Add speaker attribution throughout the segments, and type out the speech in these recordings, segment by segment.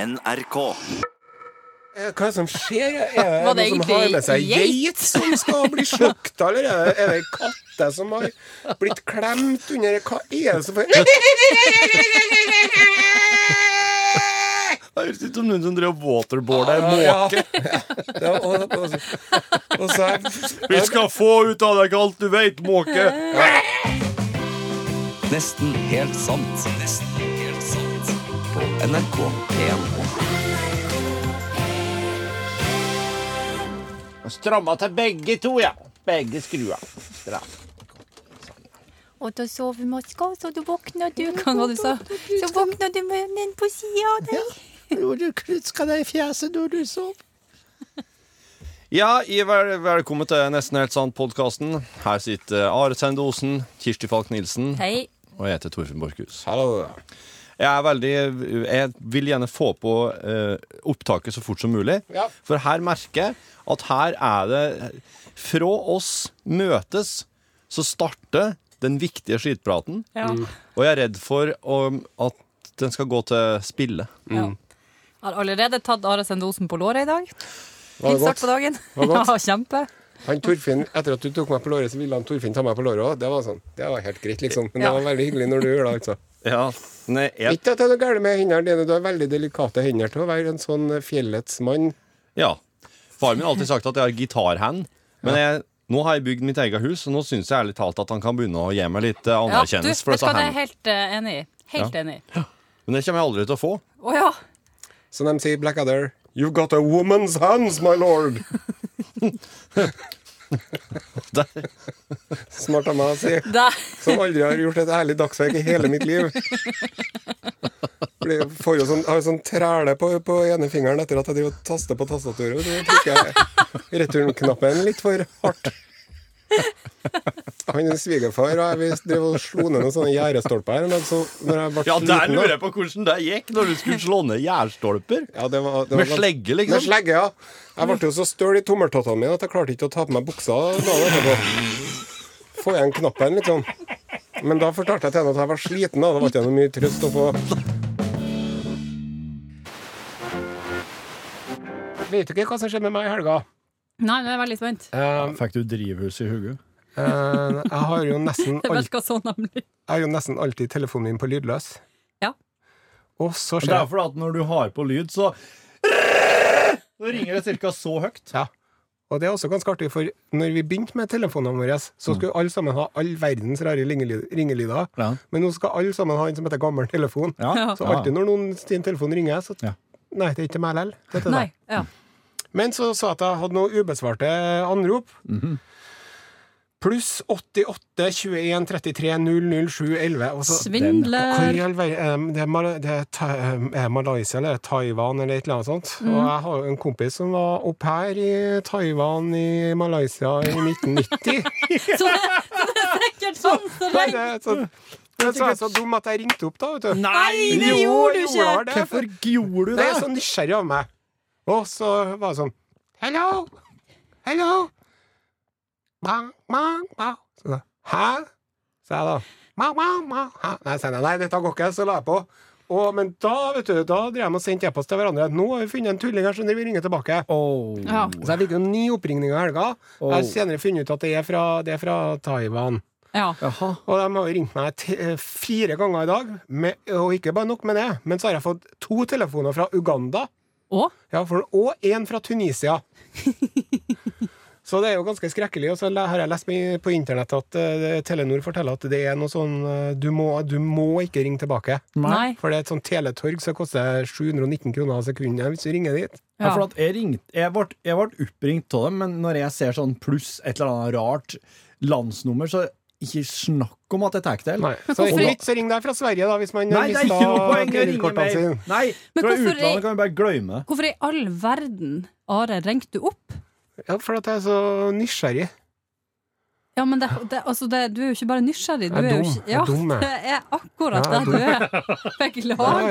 Speaker 1: NRK.
Speaker 2: Eh, Hva er det som skjer? Er det
Speaker 3: Var det
Speaker 2: noen som
Speaker 3: egentlig
Speaker 2: har med seg
Speaker 3: geit?
Speaker 2: geit som skal bli slukt, eller er det, er det katter som har blitt klemt under Hva er det som
Speaker 1: Det høres ut som noen som drev waterboarda en
Speaker 2: Ja. Ja, og, og, og, og så er
Speaker 1: Vi skal få ut av deg alt du veit, måke! Nesten helt sant. Nesten helt sant. På NRK P1.
Speaker 4: Stramma til begge to, ja. Begge skrua. Stram.
Speaker 5: Og da sover maska, så du våkner du Hva var det du sa? Så våkner du med den på sida av deg.
Speaker 4: Jo, du klutska deg i fjeset når du sov.
Speaker 1: Ja, i vel, velkommen til Nesten helt sant-podkasten. Her sitter eh, Are Sende Osen, Kirsti Falk Nilsen
Speaker 5: Hei.
Speaker 1: og jeg heter Torfinn Borchhus.
Speaker 2: Hallo.
Speaker 1: Jeg er veldig Jeg vil gjerne få på eh, opptaket så fort som mulig.
Speaker 2: Ja.
Speaker 1: For her merker jeg at her er det Fra oss møtes, så starter den viktige skitpraten.
Speaker 3: Ja.
Speaker 1: Og jeg er redd for om, at den skal gå til spille.
Speaker 3: Ja. Har allerede tatt Are Sendosen på låret i dag.
Speaker 2: Var det
Speaker 3: Fin start
Speaker 2: godt?
Speaker 3: på dagen.
Speaker 2: Var det godt?
Speaker 3: Ja, kjempe.
Speaker 2: Han Torfinn, etter at du tok meg på låret, så ville han Torfinn ta meg på låret òg. Det var sånn, det var helt greit, liksom. Men det var veldig hyggelig når du gjør det, altså.
Speaker 1: Ja, nei, jeg,
Speaker 2: Ikke at det er noe galt med hendene dine, du har veldig delikate hender til å være en sånn fjellets mann.
Speaker 1: ja. Faren min har alltid sagt at jeg har gitarhand. Men jeg, nå har jeg bygd mitt eget hus, og nå syns jeg ærlig talt at han kan begynne å gi meg litt eh,
Speaker 3: Ja, du,
Speaker 1: anerkjennelse.
Speaker 3: vet du
Speaker 1: for
Speaker 3: hva,
Speaker 1: disse
Speaker 3: det er jeg
Speaker 1: hendene.
Speaker 3: helt eh, enig i. Helt
Speaker 1: Ja.
Speaker 3: enig i.
Speaker 1: Men det kommer jeg aldri til å få.
Speaker 3: Å ja.
Speaker 2: Som de sier i Blackadder. You've got a woman's hands, my lord!
Speaker 1: Der.
Speaker 2: Smart av meg å si.
Speaker 3: Der.
Speaker 2: Som aldri har gjort et ærlig dagsverk i hele mitt liv. Blir- Får jo sånn, har jo sånn træle på, på ene fingeren etter at jeg driver og taster på tastaturet. og Så trykker jeg returnknappen litt for hardt. Han er svigerfar, og jeg vi drev og slo ned noen sånne gjerdestolper her. Men så, når jeg ble
Speaker 1: Ja, der
Speaker 2: liten, da-
Speaker 1: lurer jeg på hvordan det gikk når du skulle slå ned gjærstolper.
Speaker 2: Ja, det var, det var
Speaker 1: Med
Speaker 2: gans-
Speaker 1: slegge, liksom?
Speaker 2: Med slegge, ja. Jeg ble jo så støl i tommeltottene mine at jeg klarte ikke å ta på meg buksa dagen etterpå. Få igjen knappen, liksom. Men da fortalte jeg til henne at jeg var sliten, da. Det var ikke noe mye trøst å få. Vet du ikke hva som skjedde med meg i helga? Eh,
Speaker 3: Nei, nå er jeg veldig spent.
Speaker 6: Fikk du drivhus i hodet?
Speaker 2: jeg, har jo nesten
Speaker 3: Det virka sånn, nemlig.
Speaker 2: alltid telefonen min på lydløs.
Speaker 3: Ja.
Speaker 2: Og så
Speaker 6: Det er fordi at når du har på lyd, så Så ringer det ca. så høyt.
Speaker 2: Ja. Og det er også ganske artig, for når vi begynte med telefonene våre, så skulle alle sammen ha all verdens rare ringely- ringelyder.
Speaker 6: Ja.
Speaker 2: Men nå skal alle sammen ha en som heter gammel telefon.
Speaker 6: Ja.
Speaker 2: Så alltid når noen sin telefon ringer, så
Speaker 6: Ja.
Speaker 2: Nei, det er ikke meg likevel. Det er til
Speaker 3: Nei.
Speaker 2: deg.
Speaker 3: Ja.
Speaker 2: Men så sa jeg at jeg hadde noen ubesvarte anrop.
Speaker 6: Mhm.
Speaker 2: Pluss 88 21 33 007 11. Og så hvor i
Speaker 3: Svindler.
Speaker 2: all verden- eh, Det, er, Mal- det er, Tha- eh, er Malaysia eller Taiwan eller et eller annet sånt.
Speaker 3: Mm.
Speaker 2: Og jeg har jo en kompis som var au pair i Taiwan i Malaysia i 1990.
Speaker 3: Så det, så det er sikkert sånn som
Speaker 2: Nei,
Speaker 3: regner.
Speaker 2: det er så, men så er jeg så dum at jeg ringte opp, da. vet du.
Speaker 3: Nei, det gjorde du
Speaker 2: Jo, jeg
Speaker 3: ikke!
Speaker 2: gjorde det.
Speaker 6: Hvorfor gjorde
Speaker 2: Det
Speaker 6: du det?
Speaker 2: er sånn- så nysgjerrig av meg. Og så var det sånn Hello! Hello! Bang, bang, bang. Så da, Hæ? sa jeg da. Bang, bang, bang. Hæ? Nei, sa jeg, nei, dette går ikke, så la jeg på. Og, men da vet du, da drev de og sendte e-post til hverandre. Nå har vi funnet en tulling her, så vi ringer tilbake.
Speaker 6: Åh.
Speaker 3: Ja.
Speaker 2: Så jeg fikk jo ni oppringninger i helga. Jeg har
Speaker 6: Oh.
Speaker 2: senere funnet ut at det er fra, det er fra Taiwan.
Speaker 3: Ja.
Speaker 6: Jaha.
Speaker 2: Og de har jo ringt meg t eh, fire ganger i dag, med, og ikke bare nok med det, men så har jeg fått to telefoner fra Uganda.
Speaker 3: Og
Speaker 2: Ja, for, og en fra Tunisia. så det er jo ganske skrekkelig. Og så le- har jeg lest på- på internett at eh, Telenor forteller at det er noe sånn eh, du må, du må ikke ringe tilbake.
Speaker 3: nei.
Speaker 2: For det er et sånt teletorg som koster 719 kroner sekundet hvis du ringer dit.
Speaker 6: Ja,
Speaker 3: Ja.
Speaker 6: for at jeg, ringte, jeg, ble, jeg ble oppringt av dem, men når jeg ser sånn pluss et eller annet rart landsnummer, så ikke snakk om at jeg tar det.
Speaker 2: Nei.
Speaker 3: Men
Speaker 2: Så
Speaker 3: hvorfor-
Speaker 2: ring, så ring deg fra Sverige, da, hvis man
Speaker 6: Nei, det er ikke noe poeng å ringe
Speaker 2: kredittkortene
Speaker 6: mer!
Speaker 2: sine.
Speaker 6: Nei,
Speaker 3: Men
Speaker 6: fra
Speaker 3: hvorfor
Speaker 6: utlandet
Speaker 3: ring-
Speaker 6: kan vi bare glemme.
Speaker 3: Hvorfor i all verden, Are, ringte du opp?
Speaker 2: Ja, for at jeg er så nysgjerrig.
Speaker 3: Ja, men det, det, altså det, du er jo ikke bare nysgjerrig.
Speaker 2: Jeg
Speaker 3: Du
Speaker 2: er
Speaker 3: jo
Speaker 2: dum. Jeg
Speaker 3: ikke,
Speaker 2: er
Speaker 3: ja,
Speaker 2: dum, jeg.
Speaker 3: det er akkurat
Speaker 2: Ja, jeg
Speaker 3: der du er. Beklager.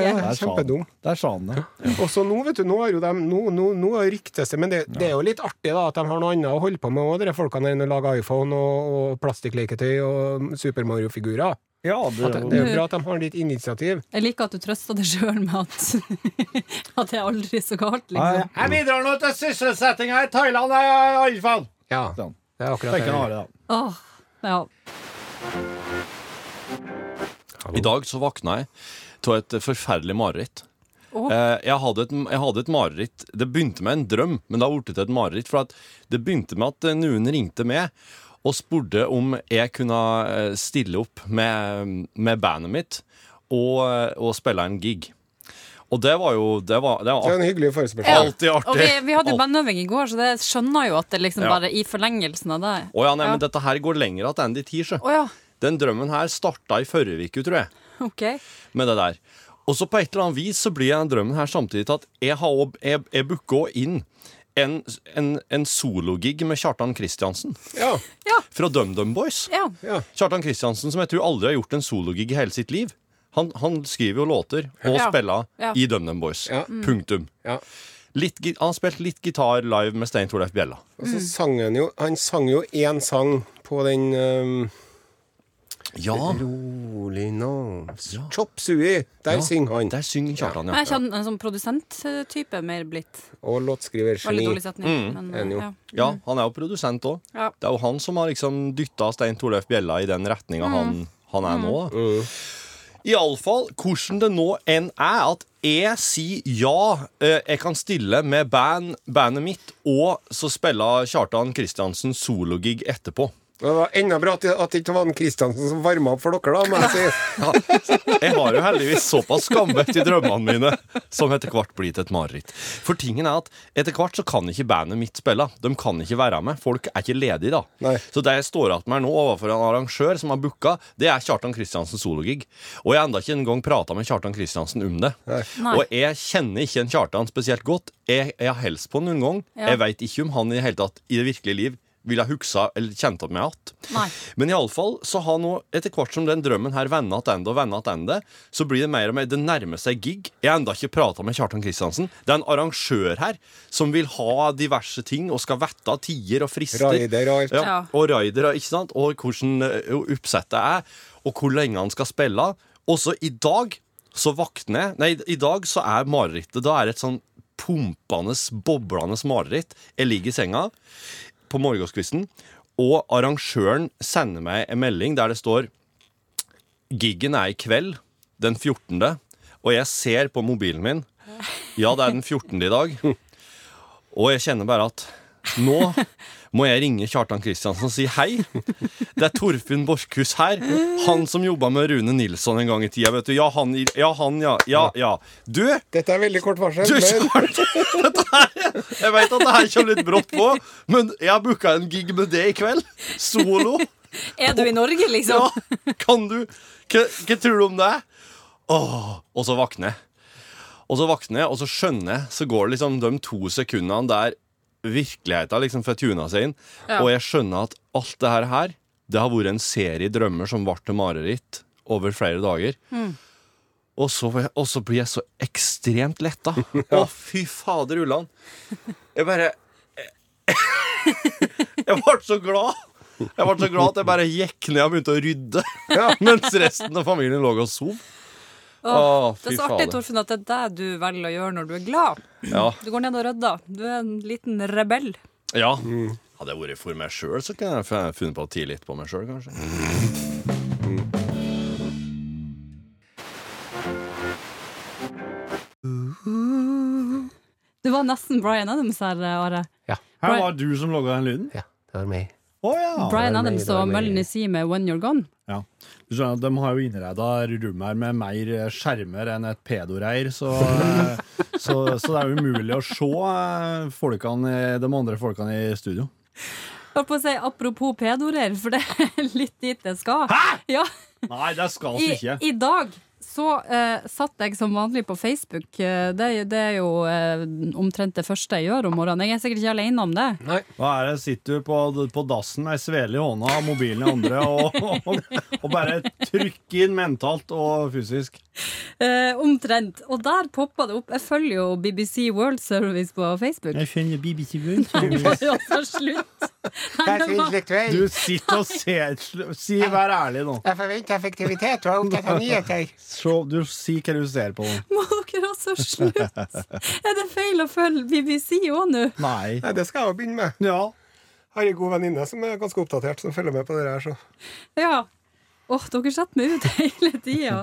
Speaker 2: Ja, ja,
Speaker 6: sa han.
Speaker 2: kjempedum.
Speaker 6: Der sa han det.
Speaker 2: Og så nå, vet du, nå har jo de nå, nå, nå ryktes det, men det, det er jo litt artig da at de har noe annet å holde på med òg, de folkene der inne og lager iPhone og, og plastikkleketøy og Super Mario-figurer.
Speaker 6: Ja, det,
Speaker 2: At Det, det er jo bra at de har litt initiativ.
Speaker 3: Jeg liker at du trøster deg sjøl med at, at det er aldri så galt, liksom.
Speaker 4: Jeg bidrar nå til sysselsettinga i Thailand, i alle fall.
Speaker 2: Ja,
Speaker 6: Sånn.
Speaker 2: det er akkurat
Speaker 6: tenker han
Speaker 2: det.
Speaker 6: har det, da.
Speaker 3: Åh, ja.
Speaker 1: I dag så våkna jeg av et forferdelig mareritt.
Speaker 3: Åh.
Speaker 1: Eh, Jeg, hadde et, jeg hadde et mareritt Det begynte med en drøm, men det har blitt til et mareritt. For at det begynte med at eh, noen ringte meg og spurte om jeg kunne eh, stille opp med, med bandet mitt og, eh, og spille en gig. Og det var jo Det var, det
Speaker 2: Det
Speaker 1: var
Speaker 2: er en hyggelig forespørsel.
Speaker 3: Ja.
Speaker 1: alltid artig.
Speaker 3: Og vi, vi hadde jo
Speaker 1: Alt-
Speaker 3: bandøving i går, så det skjønner jo at det liksom
Speaker 1: Ja.
Speaker 3: bare i forlengelsen av det.
Speaker 1: Å ja, nei,
Speaker 3: Ja.
Speaker 1: men dette her går lenger at Andy Tisje.
Speaker 3: Å ja,
Speaker 1: Den drømmen her starta i forrige uke, tror jeg.
Speaker 3: OK.
Speaker 1: med det der. Og så på et eller annet vis så blir den drømmen her samtidig til at jeg, har også- jeg, jeg booker også inn en, en, en sologig med Kjartan Kristiansen
Speaker 2: Ja,
Speaker 1: fra DumDum Boys.
Speaker 3: Ja.
Speaker 2: ja.
Speaker 1: Kjartan Kristiansen som jeg tror aldri har gjort en sologig i hele sitt liv. Han, han skriver jo låter og
Speaker 3: Ja.
Speaker 1: spiller
Speaker 3: Ja. Mm.
Speaker 1: i DumDum Boys.
Speaker 2: Ja.
Speaker 1: Punktum.
Speaker 2: Ja.
Speaker 1: Litt, gi- han har spilt litt gitar live med Stein Torleif Bjella.
Speaker 2: Og så sang han jo Han sang jo én sang på den ehm,
Speaker 1: Ja,
Speaker 2: Rolig nå Chop suey! Der
Speaker 1: Ja,
Speaker 2: synger han.
Speaker 1: der synger Kjartan,
Speaker 3: Men
Speaker 1: ja.
Speaker 3: jeg kjenner en sånn produsenttype mer blitt.
Speaker 2: Og
Speaker 3: Veldig
Speaker 2: låtskrivergeni.
Speaker 3: dårlig setning. Men,
Speaker 2: Enig jo.
Speaker 3: ja.
Speaker 1: ja han er jo produsent òg.
Speaker 3: Ja.
Speaker 1: Det er jo han som har liksom dytta Stein Torleif Bjella i den retninga han, han er nå. da. Iallfall hvordan det nå enn er, at jeg sier ja, eh, jeg kan stille med band, bandet mitt, og så spiller Kjartan Kristiansen sologig etterpå.
Speaker 2: Det var enda bra at det at det ikke var han Kristiansen som varma opp for dere, da. må jeg si.
Speaker 1: Jeg har jo heldigvis såpass skambøtt i drømmene mine som etter hvert blir til et mareritt. For tingen er at etter hvert så kan ikke bandet mitt spille. De kan ikke være med. Folk er ikke ledige da.
Speaker 2: Nei.
Speaker 1: Så det jeg står igjen med nå overfor en arrangør som har booka, det er Kjartan Kristiansen sologig. Og jeg har enda ikke engang prata med Kjartan Kristiansen om det.
Speaker 3: Nei.
Speaker 1: Og jeg kjenner ikke en Kjartan spesielt godt. Jeg, jeg har hilst på han noen gang.
Speaker 3: Ja.
Speaker 1: Jeg veit ikke om han i det hele tatt i det virkelige liv ville ha huksa eller kjent opp meg igjen.
Speaker 3: Nei.
Speaker 1: Men iallfall så har nå, etter hvert som den drømmen her vender attende og vender attende, så blir det mer og mer Det nærmer seg gig. Jeg har enda ikke prata med Kjartan Kristiansen. Det er en arrangør her som vil ha diverse ting og skal vette av tider og frister.
Speaker 2: Raider og alt.
Speaker 1: Ja,
Speaker 3: Ja.
Speaker 1: og raidere, ikke sant? Og hvordan eh, oppsettet er, og hvor lenge han skal spille. Også i dag så våkner jeg Nei, i dag så er marerittet Da er det et sånn pumpende, boblende mareritt. Jeg ligger i senga på morgenskvisten, og arrangøren sender meg en melding der det står Giggen er i kveld, den 14., og jeg ser på mobilen min Ja, det er den 14. i dag. Og jeg kjenner bare at nå må jeg ringe Kjartan Kristiansen og si hei. Det er Torfinn Borchhus her. Han som jobba med Rune Nilsson en gang i tida. Vet du. Ja, han, ja, han, ja. Ja, ja. Du,
Speaker 2: Dette er veldig kort varsel.
Speaker 1: du
Speaker 2: Men
Speaker 1: Kjartan! Dette her, jeg veit at det her kommer litt brått på, men jeg har booka en gig med det i kveld. Solo.
Speaker 3: Er du i Norge, liksom?
Speaker 1: Ja, kan du Hva hva tror du om det? Åh, og så våkner jeg. Og så våkner jeg, og så skjønner jeg. Så går det liksom de to sekundene der virkeligheten liksom får tuna seg inn.
Speaker 3: Ja.
Speaker 1: Og jeg skjønner at alt det her her, det har vært en serie drømmer som ble til mareritt over flere dager. Og, så, og så blir jeg så ekstremt letta. Å, fy fader ullan. Jeg bare Jeg ble så glad. Jeg ble så glad at jeg bare gikk ned og begynte å rydde. Mens resten av familien lå og sov. Å,
Speaker 3: Det
Speaker 1: fy
Speaker 3: er så artig,
Speaker 1: fader.
Speaker 3: Torfinn, at det er det du velger å gjøre når du er glad.
Speaker 1: Ja.
Speaker 3: Du går ned og rydder. Du er en liten rebell.
Speaker 1: ja.
Speaker 6: Mm.
Speaker 1: Hadde jeg vært for meg sjøl, så kunne jeg f- funnet på å tie litt på meg sjøl, kanskje.
Speaker 3: Det var nesten Bryan Adams her, eh, Are.
Speaker 6: Her var det du som laga den lyden.
Speaker 2: Ja, det var meg.
Speaker 6: Å ja.
Speaker 3: Bryan
Speaker 2: det er meg,
Speaker 3: Adams
Speaker 2: det er
Speaker 3: og
Speaker 2: meg.
Speaker 3: Møllen i si med When You're Gone.
Speaker 6: Ja. Du skjønner at De har jo innreda rom her med mer skjermer enn et pedoreir, så, eh, så, så det er jo umulig å se eh, folkene, de andre folkene i studio.
Speaker 3: Holdt på å si apropos pedorer, for det er litt dit jeg skal. Hæ?! Ja,
Speaker 6: Nei, det skal
Speaker 3: i,
Speaker 6: vi ikke.
Speaker 3: I dag så eh, satt jeg som vanlig på Facebook. Eh, Det, det er jo eh, omtrent det første jeg gjør om morgenen. Jeg er sikkert ikke alene om det.
Speaker 6: Hva er det, sitter du på, på dassen med ei svele i hånda og mobilen i andre og, og, og bare trykker inn mentalt og fysisk?
Speaker 3: Eh, omtrent. Og der poppa det opp. Jeg følger jo BBC World Service på Facebook.
Speaker 6: Jeg skjønner BBC
Speaker 3: Altså, slutt!
Speaker 2: Jeg er så intellektuell.
Speaker 6: Du sitter og ser sl- Si, vær ærlig nå.
Speaker 2: Jeg forventer effektivitet og er opptatt av nyheter.
Speaker 6: Så, du, si hva du ser på.
Speaker 3: Må dere også slutte? Er det feil å følge BBC òg nå?
Speaker 6: Nei.
Speaker 2: Nei, det skal jeg jo begynne med.
Speaker 6: Ja.
Speaker 2: Jeg har en god venninne som er ganske oppdatert, som følger med på det her. Så.
Speaker 3: Ja. Åh, dere setter meg ut hele tida.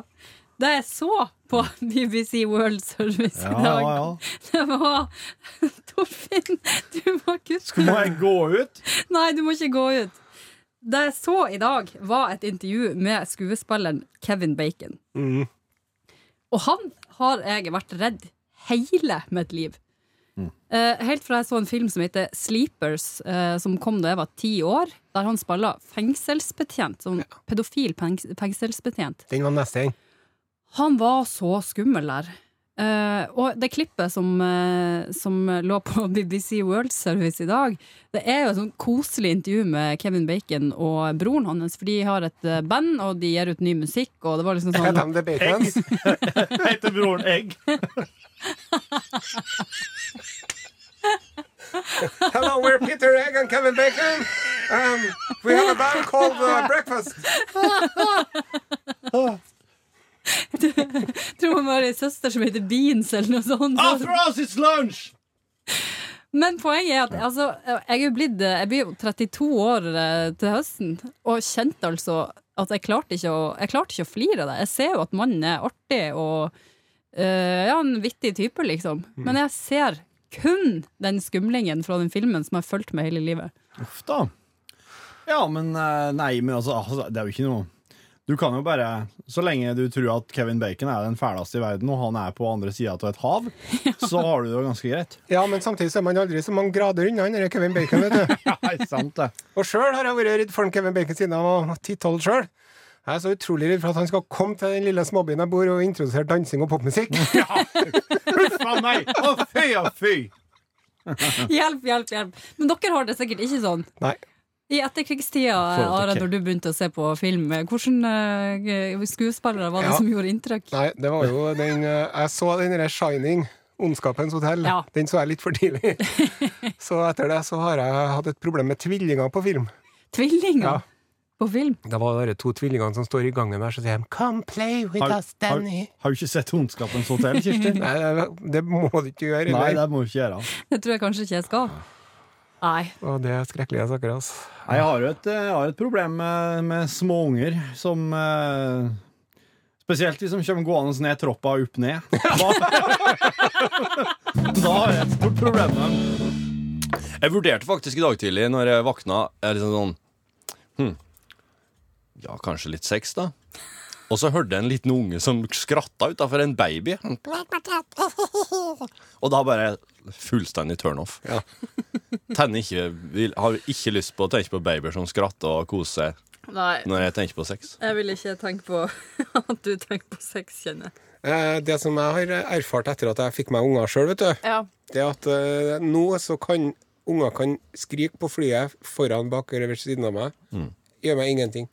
Speaker 3: Det jeg så på BBC World Service
Speaker 6: Ja,
Speaker 3: i dag,
Speaker 6: ja, ja.
Speaker 3: det var Torfinn, du må kutte
Speaker 6: Må jeg gå ut?
Speaker 3: Nei, du må ikke gå ut. Det jeg så i dag, var et intervju med skuespilleren Kevin Bacon. Og han har jeg vært redd hele mitt liv. Eh, helt fra jeg så en film som heter Sleepers, eh, som kom da jeg var ti år, der han spiller fengselsbetjent. Sånn pedofil pengs fengselsbetjent.
Speaker 2: Den var neste en.
Speaker 3: Han var så skummel der. Eh, og det klippet som, eh, som lå på BBC World Service i dag, det er jo et sånn koselig intervju med Kevin Bacon og broren hans. For de har et eh, band, og de gir ut ny musikk, og det var liksom
Speaker 2: Er
Speaker 3: sånn
Speaker 2: dem det bacons?
Speaker 6: Heter broren Egg?
Speaker 2: Hello, we're Peter Egg and Kevin Bacon. Um, we have a band called uh, Breakfast.
Speaker 3: Tror man var ei søster som heter Beans, eller noe sånt.
Speaker 1: Ah,
Speaker 6: After us, it's lunch!
Speaker 3: Men poenget er at altså, jeg, er jo blitt, jeg blir jo 32 år eh, til høsten, og kjente altså at jeg klarte ikke å, jeg klarte ikke å flire av det. Jeg ser jo at mannen er artig og eh, ja, en vittig type, liksom. Men jeg ser kun den skumlingen fra den filmen som har fulgt meg hele livet.
Speaker 6: Uff da. Ja, men eh, Nei, men altså, altså, det er jo ikke noe Du kan jo bare Så lenge du tror at Kevin Bacon er den fæleste i verden, og han er på andre sida av et hav, så har du det jo ganske greit.
Speaker 2: Ja, men samtidig så er man aldri så mange grader unna han der Kevin Bacon, vet du.
Speaker 6: Ja, ikke sant det.
Speaker 2: Og sjøl har jeg vært redd for han Kevin Bacon siden jeg var 10-12 sjøl. Jeg er så utrolig redd for at han skal komme til den lille småbyen jeg bor i og introdusere dansing og popmusikk.
Speaker 6: Huff a meg! Å, fy å, fy!
Speaker 3: Hjelp, hjelp, hjelp! Men dere har det sikkert ikke sånn.
Speaker 2: Nei.
Speaker 3: I etterkrigstida,
Speaker 6: Forhold til
Speaker 3: Are,
Speaker 6: Ke-
Speaker 3: når du begynte å se på film, hvilke skuespillere var det
Speaker 2: Ja.
Speaker 3: som gjorde inntrykk?
Speaker 2: Nei, det var jo den eh, Jeg så den der Shining, Ondskapens hotell.
Speaker 3: Ja.
Speaker 2: Den så jeg litt for tidlig. Så etter det så har jeg hatt et problem med tvillinger på film.
Speaker 3: Tvillinger
Speaker 2: Ja.
Speaker 3: på film?
Speaker 2: Det var de to tvillingene som står i gangen der, så sier de 'Come play with
Speaker 6: Har,
Speaker 2: us,
Speaker 6: har,
Speaker 2: Danny'.
Speaker 6: har du ikke sett Ondskapens hotell, Kirsti?
Speaker 2: Nei, det, det må du ikke gjøre.
Speaker 6: Nei,
Speaker 2: eller?
Speaker 6: det må du ikke gjøre.
Speaker 3: Det tror jeg kanskje ikke jeg skal. Nei.
Speaker 2: Og det er skrekkelige saker, altså.
Speaker 6: Nei, Jeg har jo et, eh, jeg har et problem med, med små unger som eh, Spesielt de som kommer gående ned troppa og opp ned. Da, da har jeg et stort problem med dem.
Speaker 1: Jeg vurderte faktisk i dag tidlig når jeg vakna jeg liksom sånn, hm, Ja, kanskje litt sex, da. Og så hørte jeg en liten unge som skratta utafor en baby. Og da bare fullstendig turnoff. Ja. Ikke, vil, har ikke lyst på å tenke på babyer som skratter og koser seg når jeg tenker på sex.
Speaker 3: Jeg vil ikke tenke på at du tenker på sex, kjenner jeg.
Speaker 2: Eh, Det som jeg har erfart etter at jeg fikk meg unger sjøl, vet du,
Speaker 3: Ja.
Speaker 2: det er at eh, nå så kan unger kan skrike på flyet foran, bak eller ved siden av meg. Gjør meg ingenting.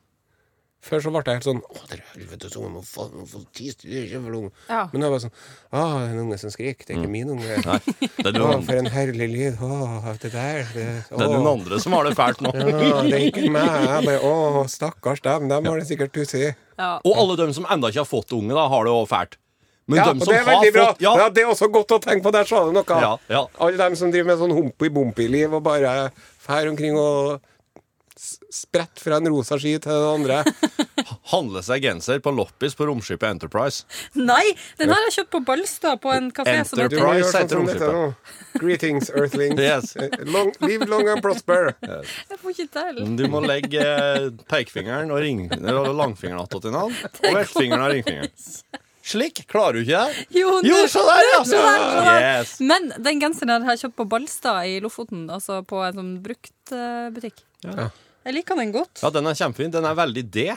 Speaker 2: Før så ble jeg helt sånn Å, dere helvetes unger, nå faen, nå får tis, du er ikke for ung.
Speaker 3: Ja.
Speaker 2: Men nå er jeg bare sånn Å, en unge som skriker, det er ikke min unge.
Speaker 1: Nei, det er
Speaker 2: Å,
Speaker 1: noen,
Speaker 2: for en herlig lyd. Å, det der. Det,
Speaker 1: det er
Speaker 2: å.
Speaker 1: noen andre som har det fælt nå.
Speaker 2: Ja, det er ikke meg. Jeg bare Å, stakkars dem. Dem har det sikkert pussig.
Speaker 1: Og alle dem som ennå ikke har fått unge, da, har det òg fælt. Men
Speaker 2: Ja,
Speaker 1: dem
Speaker 2: og
Speaker 1: som
Speaker 2: det er
Speaker 1: har
Speaker 2: veldig bra.
Speaker 1: fått ja,
Speaker 2: Ja, det er også godt å tenke på. Der sa du noe.
Speaker 1: Ja, ja.
Speaker 2: Alle dem som driver med sånn humpi-bompi-liv og bare fer omkring og s- spretter fra en rosa ski til den andre.
Speaker 1: handle seg genser på loppis på romskipet Enterprise.
Speaker 3: Nei! Den har jeg kjøpt på Balstad, på en kafé som
Speaker 2: Du
Speaker 3: heter
Speaker 1: Enterprise.
Speaker 2: må
Speaker 1: Price
Speaker 2: gjøre sånn
Speaker 1: heter
Speaker 2: som dette nå. Greetings, earthlings.
Speaker 1: Yes. Eh,
Speaker 2: Eh, Long, live long and prosper.
Speaker 3: Jeg får ikke til.
Speaker 1: Du må legge eh, pekefingeren og, ring, eller langfingeren attåt innan, og vektfingeren og ringfingeren. Slik. Klarer du ikke det?
Speaker 3: Jo,
Speaker 1: Jo,
Speaker 3: nå-
Speaker 1: se der, ja!
Speaker 3: se der, se der.
Speaker 1: Yes.
Speaker 3: Men den genseren her har jeg kjøpt på Balstad i Lofoten, altså på en sånn bruktbutikk.
Speaker 1: Ja.
Speaker 3: Jeg liker den godt.
Speaker 1: Ja, den er kjempefin. Den er veldig det.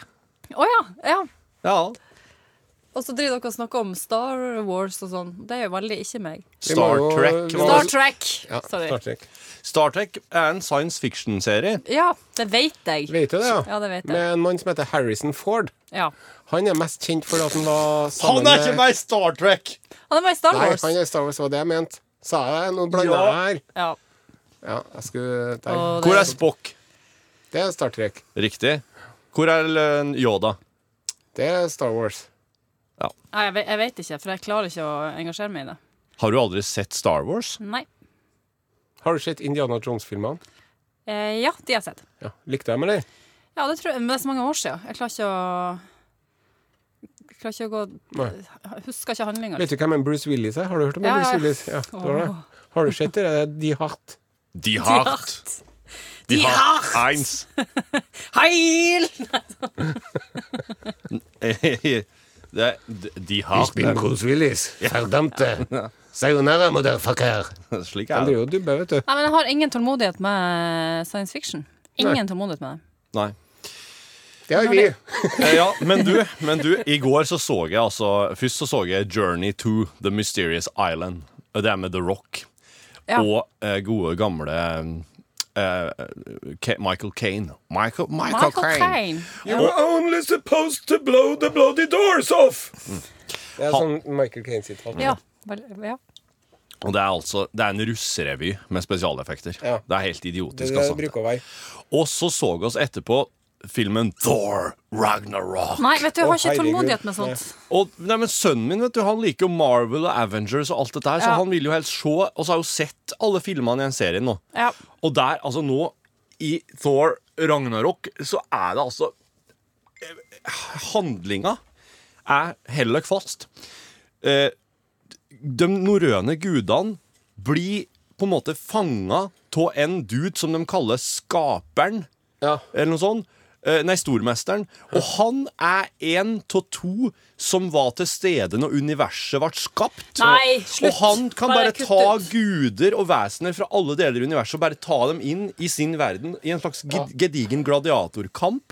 Speaker 3: Å ja, ja.
Speaker 1: Ja.
Speaker 3: Og så driver dere og snakker om Star Wars og sånn. Det er jo veldig ikke meg.
Speaker 2: Vi
Speaker 1: Star
Speaker 2: må-
Speaker 1: Trek. var-
Speaker 3: Star Trek!
Speaker 2: Ja,
Speaker 3: Sorry.
Speaker 2: Star Trek.
Speaker 1: Star Trek er en science fiction-serie.
Speaker 3: Ja, det vet jeg.
Speaker 2: Vet du det,
Speaker 3: Ja, det vet jeg.
Speaker 2: Med en mann som heter Harrison Ford.
Speaker 3: Ja.
Speaker 2: Han er mest kjent for at han var sammen
Speaker 1: Han er ikke
Speaker 2: med-
Speaker 1: med i Star Trek!
Speaker 3: Han er med i Star
Speaker 2: Nei,
Speaker 3: Wars.
Speaker 2: han er i Star Wars, var det jeg mente. Sa jeg noe blanda
Speaker 1: Ja.
Speaker 2: her?
Speaker 3: Ja.
Speaker 2: Ja, jeg skulle der.
Speaker 3: Og
Speaker 1: Hvor er Spock?
Speaker 2: Det er Star Trek.
Speaker 1: Riktig. Hvor er eh, Yoda?
Speaker 2: Det er Star Wars.
Speaker 3: Nei, jeg, vet, jeg vet ikke, for jeg klarer ikke å engasjere meg i det.
Speaker 1: Har du aldri sett Star Wars?
Speaker 3: Nei.
Speaker 2: Har du sett Indiana Jones-filmene?
Speaker 3: Eh, ja, de har jeg sett.
Speaker 2: Ja. Likte dem, eller?
Speaker 3: Ja, det tror jeg, men det er så mange år siden. Jeg klarer ikke å jeg klarer ikke å gå Jeg Husker ikke handlinga.
Speaker 2: Vet du hvem en Bruce Willis er? Har du hørt om en
Speaker 3: Ja, ja,
Speaker 2: Bruce
Speaker 3: ja.
Speaker 2: Willis? Ja, det var det. Har du sett det? der? De hatt.
Speaker 1: De
Speaker 3: Hart.
Speaker 1: De
Speaker 3: Die
Speaker 1: Hart. Eins.
Speaker 3: Heil!
Speaker 1: det, er- de Hart.
Speaker 2: Bruce Willis. Fordømte. Sayonara, motherfucker.
Speaker 1: Slik
Speaker 2: Han
Speaker 1: er det.
Speaker 2: driver og dubber, vet du.
Speaker 3: Nei, men jeg har ingen tålmodighet med science fiction. Ingen tålmodighet med det.
Speaker 1: Nei.
Speaker 2: Det har vi.
Speaker 1: Eh, Ja, men du, men du, i går så så jeg altså Først så så jeg Journey to The Mysterious Island. Og Det er med The Rock.
Speaker 3: Ja.
Speaker 1: Og eh, gode, gamle eh, Ke- Michael Kane. Michael, Michael,
Speaker 3: Michael
Speaker 1: Caine.
Speaker 3: Caine.
Speaker 2: You were only supposed to blow the bloody doors off! Det er sånn Michael Caine sitt
Speaker 3: Ja. vel- ja.
Speaker 1: Og det er altså Det er en russerevy med spesialeffekter.
Speaker 2: Ja.
Speaker 1: Det er helt
Speaker 2: Det
Speaker 1: idiotisk.
Speaker 2: er det
Speaker 1: altså.
Speaker 2: det bruker å være.
Speaker 1: Og så så vi oss etterpå filmen Thor Ragnarok.
Speaker 3: Nei, vet du, jeg
Speaker 2: Å,
Speaker 3: har ikke
Speaker 2: herregud.
Speaker 3: tålmodighet med sånt.
Speaker 1: Og nei, men Sønnen min vet du, han liker jo Marvel og Avengers og alt dette her, så
Speaker 3: Ja.
Speaker 1: han vil jo helst se Og så har jeg jo sett alle filmene i den serien nå.
Speaker 3: Ja.
Speaker 1: Og der, altså nå, i Thor Ragnarok, så er det altså eh, Handlinga er Hell og fast. Eh, de norrøne gudene blir på en måte fanga av en dude som de kaller Skaperen,
Speaker 2: Ja.
Speaker 1: eller noe sånt. Eh, Nei, Stormesteren. Og han er en av to som var til stede når universet ble skapt.
Speaker 3: Nei,
Speaker 1: Og
Speaker 3: slutt.
Speaker 1: han kan
Speaker 3: Bare
Speaker 1: bare,
Speaker 3: kutt
Speaker 1: ta
Speaker 3: ut.
Speaker 1: guder og vesener fra alle deler av universet og bare ta dem inn i sin verden i en slags ged- gedigen gladiatorkamp,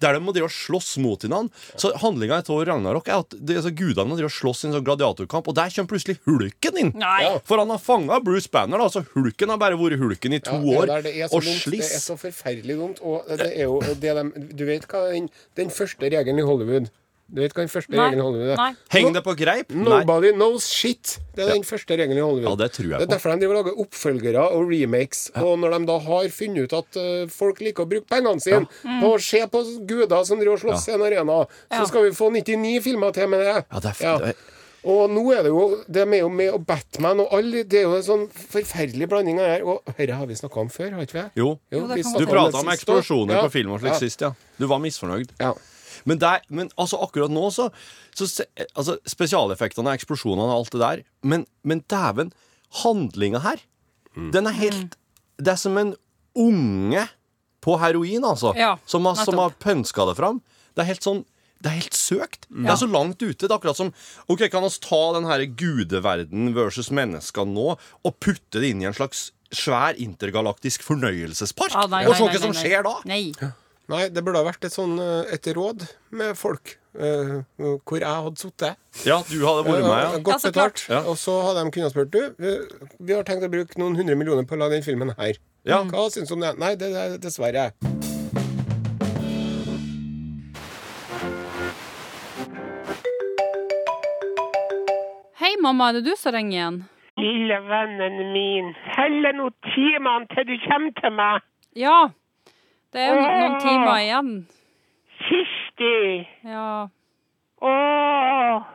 Speaker 1: der de må drive og slåss mot hverandre. Så handlinga i Thor Ragnarok er at de, altså, gudene driver og slåss i en sånn gladiatorkamp, og der kommer plutselig hulken inn.
Speaker 3: Nei.
Speaker 1: For han har fanga Bruce Banner. Da. Altså, hulken har bare vært hulken i to
Speaker 2: Ja,
Speaker 1: år.
Speaker 2: det der, det er så
Speaker 1: og
Speaker 2: dumt.
Speaker 1: sliss.
Speaker 2: Det er så forferdelig dumt. Og det er jo det de, Du vet hva den, den første regelen i Hollywood Du vet hva den første
Speaker 3: Nei.
Speaker 2: regelen i Hollywood er?
Speaker 3: Nei.
Speaker 1: Heng det på greip? Nei.
Speaker 2: Nobody knows shit! Det er den første regelen i Hollywood.
Speaker 1: Ja, det tror jeg
Speaker 2: Det er
Speaker 1: på.
Speaker 2: derfor de driver og lager oppfølgere og remakes. Og når de da har funnet ut at eh, folk liker å bruke pengene sine
Speaker 3: Mm.
Speaker 2: på å se på guder som driver og slåss i en arena, så skal vi få 99 filmer til med det.
Speaker 1: Ja, det er f- det er-
Speaker 2: Og nå er det jo De er jo med, og Batman og alle Det er jo en sånn forferdelig blanding av det her. Og dette har vi snakka om før, har ikke vi?
Speaker 1: Jo.
Speaker 2: Jo,
Speaker 3: det
Speaker 2: vi
Speaker 3: kan
Speaker 2: snakket
Speaker 1: Du
Speaker 2: det
Speaker 3: godt
Speaker 1: prata om
Speaker 2: sist
Speaker 1: eksplosjoner
Speaker 2: også.
Speaker 1: på film og slik
Speaker 2: ja.
Speaker 1: sist, ja. Du var misfornøyd.
Speaker 2: Ja.
Speaker 1: Men, der, men altså akkurat nå, så, så se- altså, Spesialeffektene, eksplosjonene og alt det der. Men, men dæven, handlinga her, den er helt Det er som en unge på heroin, altså.
Speaker 3: Ja,
Speaker 1: som, har, som har
Speaker 3: nettopp.
Speaker 1: pønska det fram. Det er helt sånn det er helt søkt. Det er så langt ute. Det er akkurat som Ok, kan oss ta den her gudeverden versus mennesker nå og putte det inn i en slags svær intergalaktisk fornøyelsespark?
Speaker 3: Ah, nei,
Speaker 1: og
Speaker 3: nei,
Speaker 1: se
Speaker 3: nei,
Speaker 1: hva som
Speaker 3: nei, nei.
Speaker 1: skjer da!
Speaker 3: Nei.
Speaker 2: Nei, det burde ha vært et sånn eh, et råd med folk eh, hvor jeg hadde sittet.
Speaker 1: Ja, du hadde vært med, ja.
Speaker 2: Godt
Speaker 3: Ja, så
Speaker 2: betalt.
Speaker 1: klart. Ja.
Speaker 2: Og så hadde de kunnet spurt Du, vi, vi har tenkt å bruke noen hundre millioner på å lage den filmen her.
Speaker 1: Ja.
Speaker 2: Hva syns du om det? Nei, det er dessverre.
Speaker 3: Hei, mamma, er det du som ringer igjen?
Speaker 7: Lille vennen min, heller nå timene til du kommer til meg.
Speaker 3: Ja. Det er jo no- noen timer igjen.
Speaker 7: Kirsti!
Speaker 3: Ja.
Speaker 7: Åh!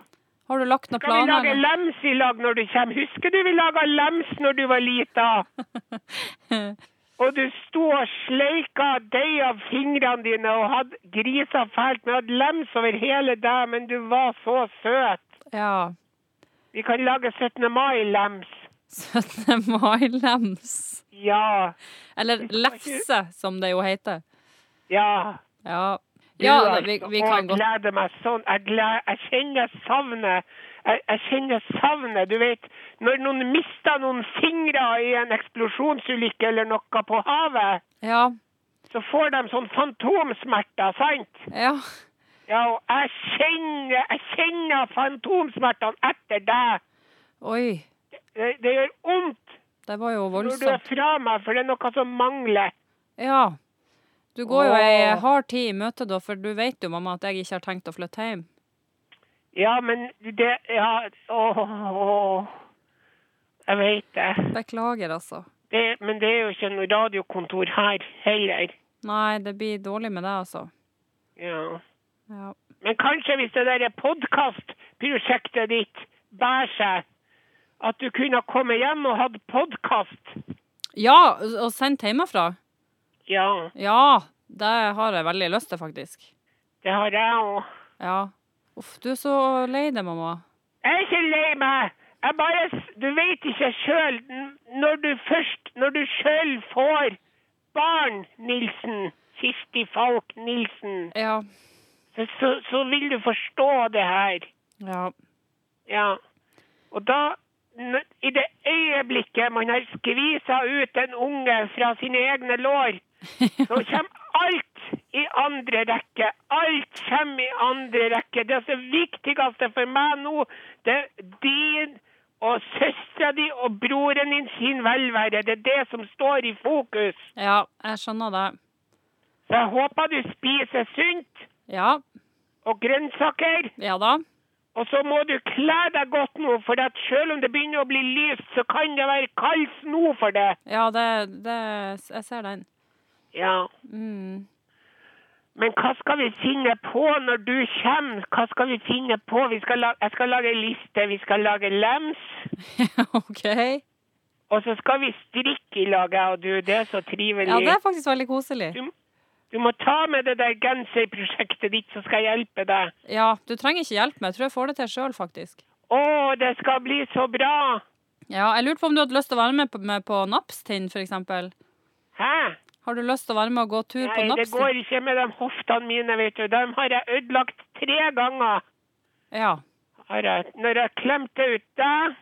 Speaker 3: Har du lagt noen
Speaker 7: Skal vi
Speaker 3: planer?
Speaker 7: lage
Speaker 3: eller?
Speaker 7: lems i lag når du kommer? Husker du vi laga lems når du var lita? Og du sto og sleika deig av fingrene dine og hadde grisa fælt med hadde lems over hele deg, men du var så søt.
Speaker 3: Ja.
Speaker 7: Vi kan lage 17. mai-lems.
Speaker 3: 17. mai-lems.
Speaker 7: Ja.
Speaker 3: Eller lefse, som det jo heter.
Speaker 7: Ja.
Speaker 3: Ja,
Speaker 7: Du,
Speaker 3: ja
Speaker 7: altså,
Speaker 3: vi, vi
Speaker 7: og
Speaker 3: kan
Speaker 7: Jeg
Speaker 3: godt
Speaker 7: gleder meg sånn. Jeg, gleder, jeg kjenner savnet. Jeg, jeg kjenner savnet. Du vet, når noen mister noen fingre i en eksplosjonsulykke eller noe på havet,
Speaker 3: Ja.
Speaker 7: så får de sånn fantomsmerter, sant?
Speaker 3: ja.
Speaker 7: Ja, og jeg kjenner, jeg kjenner fantomsmertene etter deg.
Speaker 3: Oi,
Speaker 7: Det, det gjør vondt
Speaker 3: det var jo
Speaker 7: når du er
Speaker 3: voldsomt.
Speaker 7: fra meg, for det er noe som mangler.
Speaker 3: Ja. Du går jo ei
Speaker 7: Åh.
Speaker 3: hard tid i møte, da, for du vet jo, mamma, at jeg ikke har tenkt å flytte hjem.
Speaker 7: Ja, men det Ja, åh, åh. Jeg vet det.
Speaker 3: Beklager, altså.
Speaker 7: det. Men det er jo ikke noe radiokontor her heller.
Speaker 3: Nei, det blir dårlig med deg, altså.
Speaker 7: Ja.
Speaker 3: Ja.
Speaker 7: Men kanskje hvis det der podkastprosjektet ditt bærer seg, at du kunne ha kommet hjem og hatt podkast?
Speaker 3: ja, og sendt hjemmefra?
Speaker 7: Ja,
Speaker 3: Ja, det har jeg veldig lyst til, faktisk.
Speaker 7: det har jeg òg.
Speaker 3: Ja. Uff, du er så lei deg, mamma.
Speaker 7: Jeg er ikke lei meg. Jeg bare s- Du vet ikke sjøl når du først Når du sjøl får barn, Nilsen, Kirsti Falk Nilsen,
Speaker 3: Ja.
Speaker 7: så, så, så vil du forstå det her.
Speaker 3: Ja.
Speaker 7: Ja. Og da, n- i det øyeblikket man har skvisa ut en unge fra sine egne lår, så kommer alt i andre rekke. Alt kommer i andre rekke. Det som er viktigste for meg nå, det er din og søstera di og broren din sin velvære. Det er det som står i fokus.
Speaker 3: Ja, jeg skjønner det.
Speaker 7: Så jeg håper du spiser sunt
Speaker 3: Ja.
Speaker 7: og grønnsaker.
Speaker 3: Ja da.
Speaker 7: Og så må du kle deg godt nå, for at selv om det begynner å bli lyst, så kan det være kald sno for deg.
Speaker 3: Ja, det, det Jeg ser den.
Speaker 7: Ja.
Speaker 3: Mm.
Speaker 7: Men hva skal vi finne på når du kommer? Hva skal vi finne på? Vi skal la jeg skal lage liste, vi skal lage lems,
Speaker 3: OK.
Speaker 7: og så skal vi strikke i lag, jeg og du. Det er så trivelig.
Speaker 3: Ja, det er faktisk veldig koselig.
Speaker 7: Du må ta med det der genserprosjektet ditt, så skal jeg hjelpe deg.
Speaker 3: Ja, du trenger ikke hjelp med. Jeg tror jeg får det til sjøl, faktisk.
Speaker 7: Å, det skal bli så bra!
Speaker 3: Ja, jeg lurte på om du hadde lyst til å være med på, med på Napstind, for eksempel.
Speaker 7: Hæ?
Speaker 3: Har du lyst til å være med og gå tur på
Speaker 7: Nei, det
Speaker 3: Napstind?
Speaker 7: går ikke med de hoftene mine, vet du. Dem har jeg ødelagt tre ganger.
Speaker 3: Ja.
Speaker 7: har jeg, når jeg klemte ut deg,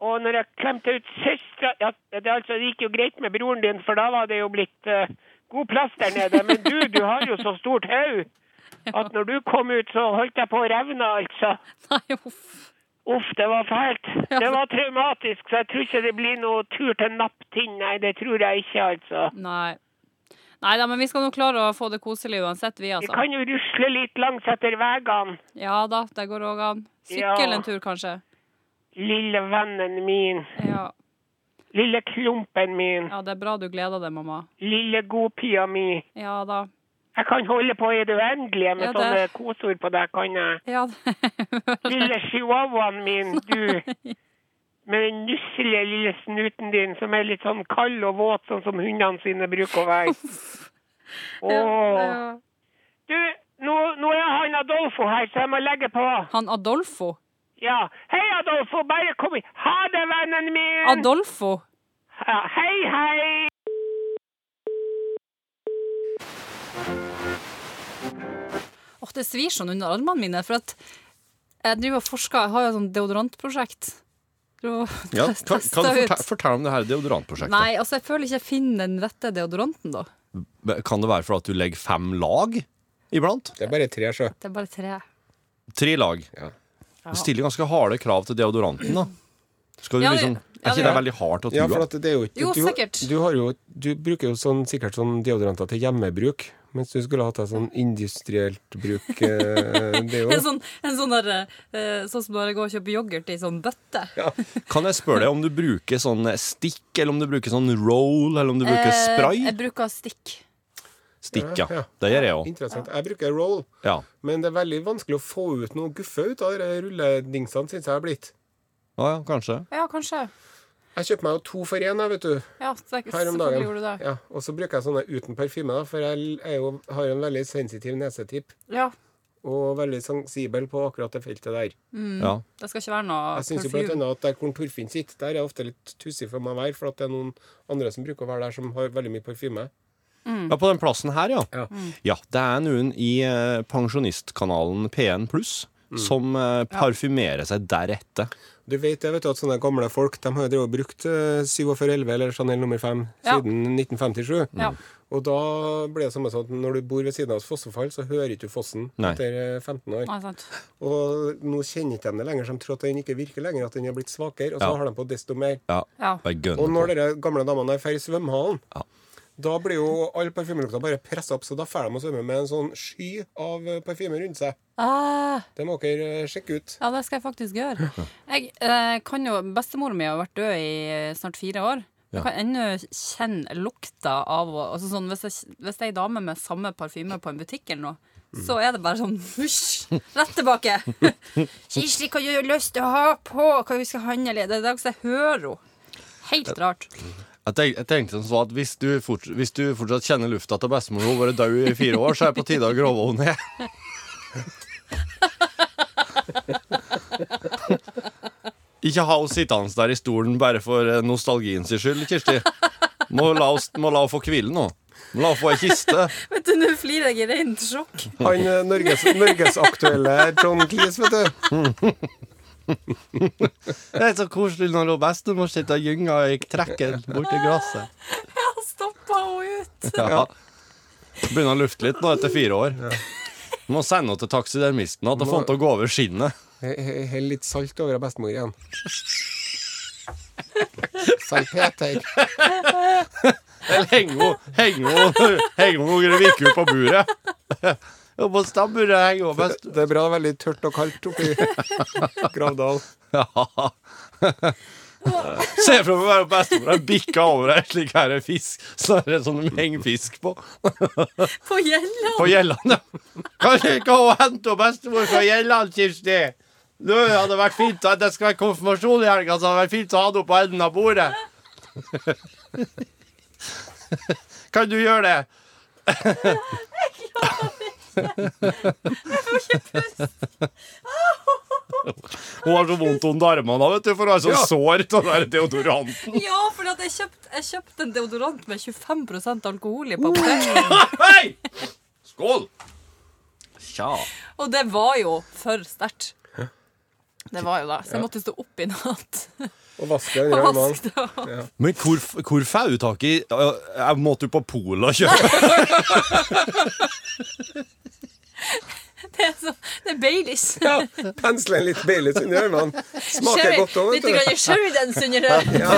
Speaker 7: og når jeg klemte ut søstera ja, det, er altså, det gikk jo greit med broren din, for da var det jo blitt eh, god plass der nede. Men du, du har jo så stort hode at når du kom ut, så holdt jeg på å revne, altså.
Speaker 3: Nei, uff.
Speaker 7: Uff, det var fælt. Det var traumatisk, så jeg tror ikke det blir noe tur til Napptind. Nei, det tror jeg ikke, altså.
Speaker 3: Nei. Nei da, men vi skal nå klare å få det koselig uansett, vi,
Speaker 7: Vi
Speaker 3: altså.
Speaker 7: kan jo rusle litt langs etter veiene.
Speaker 3: Ja da, det går òg an.
Speaker 7: Ja.
Speaker 3: Sykkel en tur, kanskje.
Speaker 7: Lille vennen min.
Speaker 3: Ja.
Speaker 7: Lille klumpen min.
Speaker 3: ja, det er bra du gleder deg, mamma.
Speaker 7: Lille godpia mi.
Speaker 3: Ja da.
Speaker 7: Jeg kan holde på i det uendelige med
Speaker 3: Ja, det-
Speaker 7: sånne koseord på deg, kan jeg.
Speaker 3: Ja, det
Speaker 7: Lille chihuahuaen min, du. Med den nusselige lille snuten din, som er litt sånn kald og våt, sånn som hundene sine bruker å være. Åh.
Speaker 3: Ja.
Speaker 7: Du, nå, nå er han Adolfo her, så jeg må legge på.
Speaker 3: Han Adolfo?
Speaker 7: Ja. Hei, Adolfo, bare kom inn. Ha det, vennen min!
Speaker 3: Adolfo?
Speaker 7: Ja, hei, hei!
Speaker 3: Åh, det svir sånn under armene mine, for at jeg driver og forsker. Jeg har jo et sånt deodorantprosjekt. Driver og
Speaker 1: Ja,
Speaker 3: tester
Speaker 1: kan, kan du
Speaker 3: ut.
Speaker 1: fortelle, fortelle om det her deodorantprosjektet?
Speaker 3: Nei, altså, jeg føler ikke jeg finner den rette deodoranten, da.
Speaker 1: Kan det være for at du legger fem lag iblant?
Speaker 2: Det er bare tre, sjø.
Speaker 3: Det er bare tre.
Speaker 1: Tre lag.
Speaker 2: Ja.
Speaker 1: Det stiller ganske harde krav til deodoranten, da. Skal du
Speaker 3: Ja, det-
Speaker 1: liksom,
Speaker 3: ja,
Speaker 1: er
Speaker 3: det
Speaker 1: ikke det
Speaker 3: gjør.
Speaker 1: veldig hardt å
Speaker 2: Ja,
Speaker 1: true?
Speaker 2: for at det er jo ikke
Speaker 3: Jo,
Speaker 2: du,
Speaker 3: sikkert.
Speaker 2: Du, har jo, du bruker jo sånn, sikkert sånn deodoranter til hjemmebruk, mens du skulle hatt deg sånn industrielt bruk. Eh,
Speaker 3: En
Speaker 2: deodorant.
Speaker 3: sånn, en sånn der eh, Sånn som bare går og kjøper yoghurt i sånn bøtte.
Speaker 1: Kan jeg spørre deg om du bruker sånn stikk, eller om du bruker sånn roll, eller om du bruker
Speaker 3: Eh,
Speaker 1: spray?
Speaker 3: Jeg bruker stikk.
Speaker 1: Stikk,
Speaker 2: Ja,
Speaker 1: ja.
Speaker 2: ja.
Speaker 1: Det gjør jeg òg.
Speaker 2: Interessant. Jeg bruker roll,
Speaker 1: Ja.
Speaker 2: men det er veldig vanskelig å få ut noe guffe ut av de rulledingsene, syns jeg har blitt.
Speaker 1: Ja, ja, kanskje.
Speaker 3: Ja, kanskje.
Speaker 2: Jeg kjøper meg jo to for én, jeg, vet du.
Speaker 3: Ja, det,
Speaker 2: Her om
Speaker 3: selvfølgelig gjorde du
Speaker 2: dagen.
Speaker 3: det.
Speaker 2: Ja, og så bruker jeg sånne uten parfyme, da, for jeg er jo, har jo en veldig sensitiv nesetipp.
Speaker 3: Ja,
Speaker 2: Og veldig sensibel på akkurat det feltet der.
Speaker 1: Ja.
Speaker 3: Det skal ikke være noe
Speaker 2: Jeg syns jo blant
Speaker 3: parfyme.
Speaker 2: annet at der hvor Torfinn sitter, der er jeg ofte litt tussig for meg å være, for at det er noen andre som bruker å være der, som har veldig mye parfyme.
Speaker 3: Mm.
Speaker 1: ja, på den plassen her, ja.
Speaker 2: Ja.
Speaker 1: Ja, det er noen i eh, pensjonistkanalen PN Pluss som eh, parfymerer seg deretter.
Speaker 2: Du vet det, vet du, at sånne gamle folk De har jo drevet og brukt eh, 4711 eller Chanel nummer 5
Speaker 3: Ja. Mm.
Speaker 2: siden 1957.
Speaker 3: Ja.
Speaker 2: Og da blir det samme sånn at når du bor ved siden av et fossefall, så hører ikke du fossen
Speaker 1: Nei.
Speaker 2: etter eh, 15 år.
Speaker 3: Ja, sant.
Speaker 2: Og nå kjenner ikke de det lenger, så de tror at den ikke virker lenger, at den har blitt svakere, og så
Speaker 1: Ja.
Speaker 2: har de på desto mer.
Speaker 1: Ja.
Speaker 3: Ja.
Speaker 1: Bare gønner
Speaker 2: Og når
Speaker 1: på.
Speaker 2: de gamle damene er ferdig i svømmehallen,
Speaker 1: Ja.
Speaker 2: da blir jo all parfymelukta bare pressa opp, så da får de å svømme med en sånn sky av eh, parfyme rundt seg.
Speaker 3: Ah,
Speaker 2: Det må dere eh, sjekke ut.
Speaker 3: ja, det skal jeg faktisk gjøre. Jeg eh, kan jo, Bestemora mi har vært død i eh, snart fire år. Jeg kan ennå kjenne lukta av å- altså sånn, hvis, jeg, hvis det er ei dame med samme parfyme på en butikk eller noe,
Speaker 1: Mm.
Speaker 3: så er det bare sånn husj, rett tilbake. Kirsti, hva du har lyst til å ha på? Hva vi skal handle i? Det er det jeg hører henne. Helt rart.
Speaker 1: Jeg, tenk, jeg tenkte sånn så at hvis du, fort, hvis du fortsatt kjenner lufta til bestemor hun har vært død i fire år, så er det på tide å grave henne ned. Ikke ha henne sittende der i stolen bare for eh, nostalgien sin skyld, Kirsti. Må la henne få hvile nå. Må la henne få ei kiste.
Speaker 3: Vet du, Nå flirer jeg i rent sjokk.
Speaker 2: Han eh, Norges, norgesaktuelle John Cleese, vet du.
Speaker 1: Det er så koselig når hun bestemor sitter og gynger i trekken borti glasset.
Speaker 3: Jeg stoppa henne ut.
Speaker 1: Ja. Begynner å lufte litt nå etter fire år. Må sende henne til taksidermisten at hun
Speaker 2: Må-
Speaker 1: fant til å gå over skinnet.
Speaker 2: He- he- Hell litt salt over av bestemor igjen. Salpeter.
Speaker 1: Eller henge henne henge henne- henge henne noen viker på buret. Jo, på stabburet henger hun best.
Speaker 2: Det er bra det er veldig tørt og kaldt oppi Gravdal.
Speaker 1: Ja. Se for meg bare bestemor har bikka over ei slik her fisk, snarere som sånn de henger fisk på.
Speaker 3: På Gjelland.
Speaker 1: På Gjelland, ja. Kan du ikke hun hente opp bestemor fra Gjelland, Kirsti? Nå hadde det vært fint at det skal være konfirmasjon i helga, så hadde det vært fint å ha henne på enden av bordet. Kan du gjøre det? Hun har så vondt under armene, vet du, for hun har så sår av den der deodoranten.
Speaker 3: Ja, for at jeg kjøpte jeg kjøpt en deodorant med 25 alkohol i på apoteket.
Speaker 1: Hei! Skål! Tja.
Speaker 3: Og det var jo for sterkt. Det var jo det. Så jeg måtte stå opp i natt
Speaker 2: Og vaske
Speaker 3: og
Speaker 2: under armene.
Speaker 3: vaske det av.
Speaker 1: Men hvor, hvor får du tak i øh, Jeg måtte jo på Polet og kjøpe
Speaker 3: Det er, så, det er Baileys.
Speaker 2: Pensle litt Baileys under armene. Smaker
Speaker 3: Sherry-
Speaker 2: godt òg,
Speaker 3: Litt
Speaker 2: vet du.
Speaker 3: grann Sheridans under her.
Speaker 2: Ja.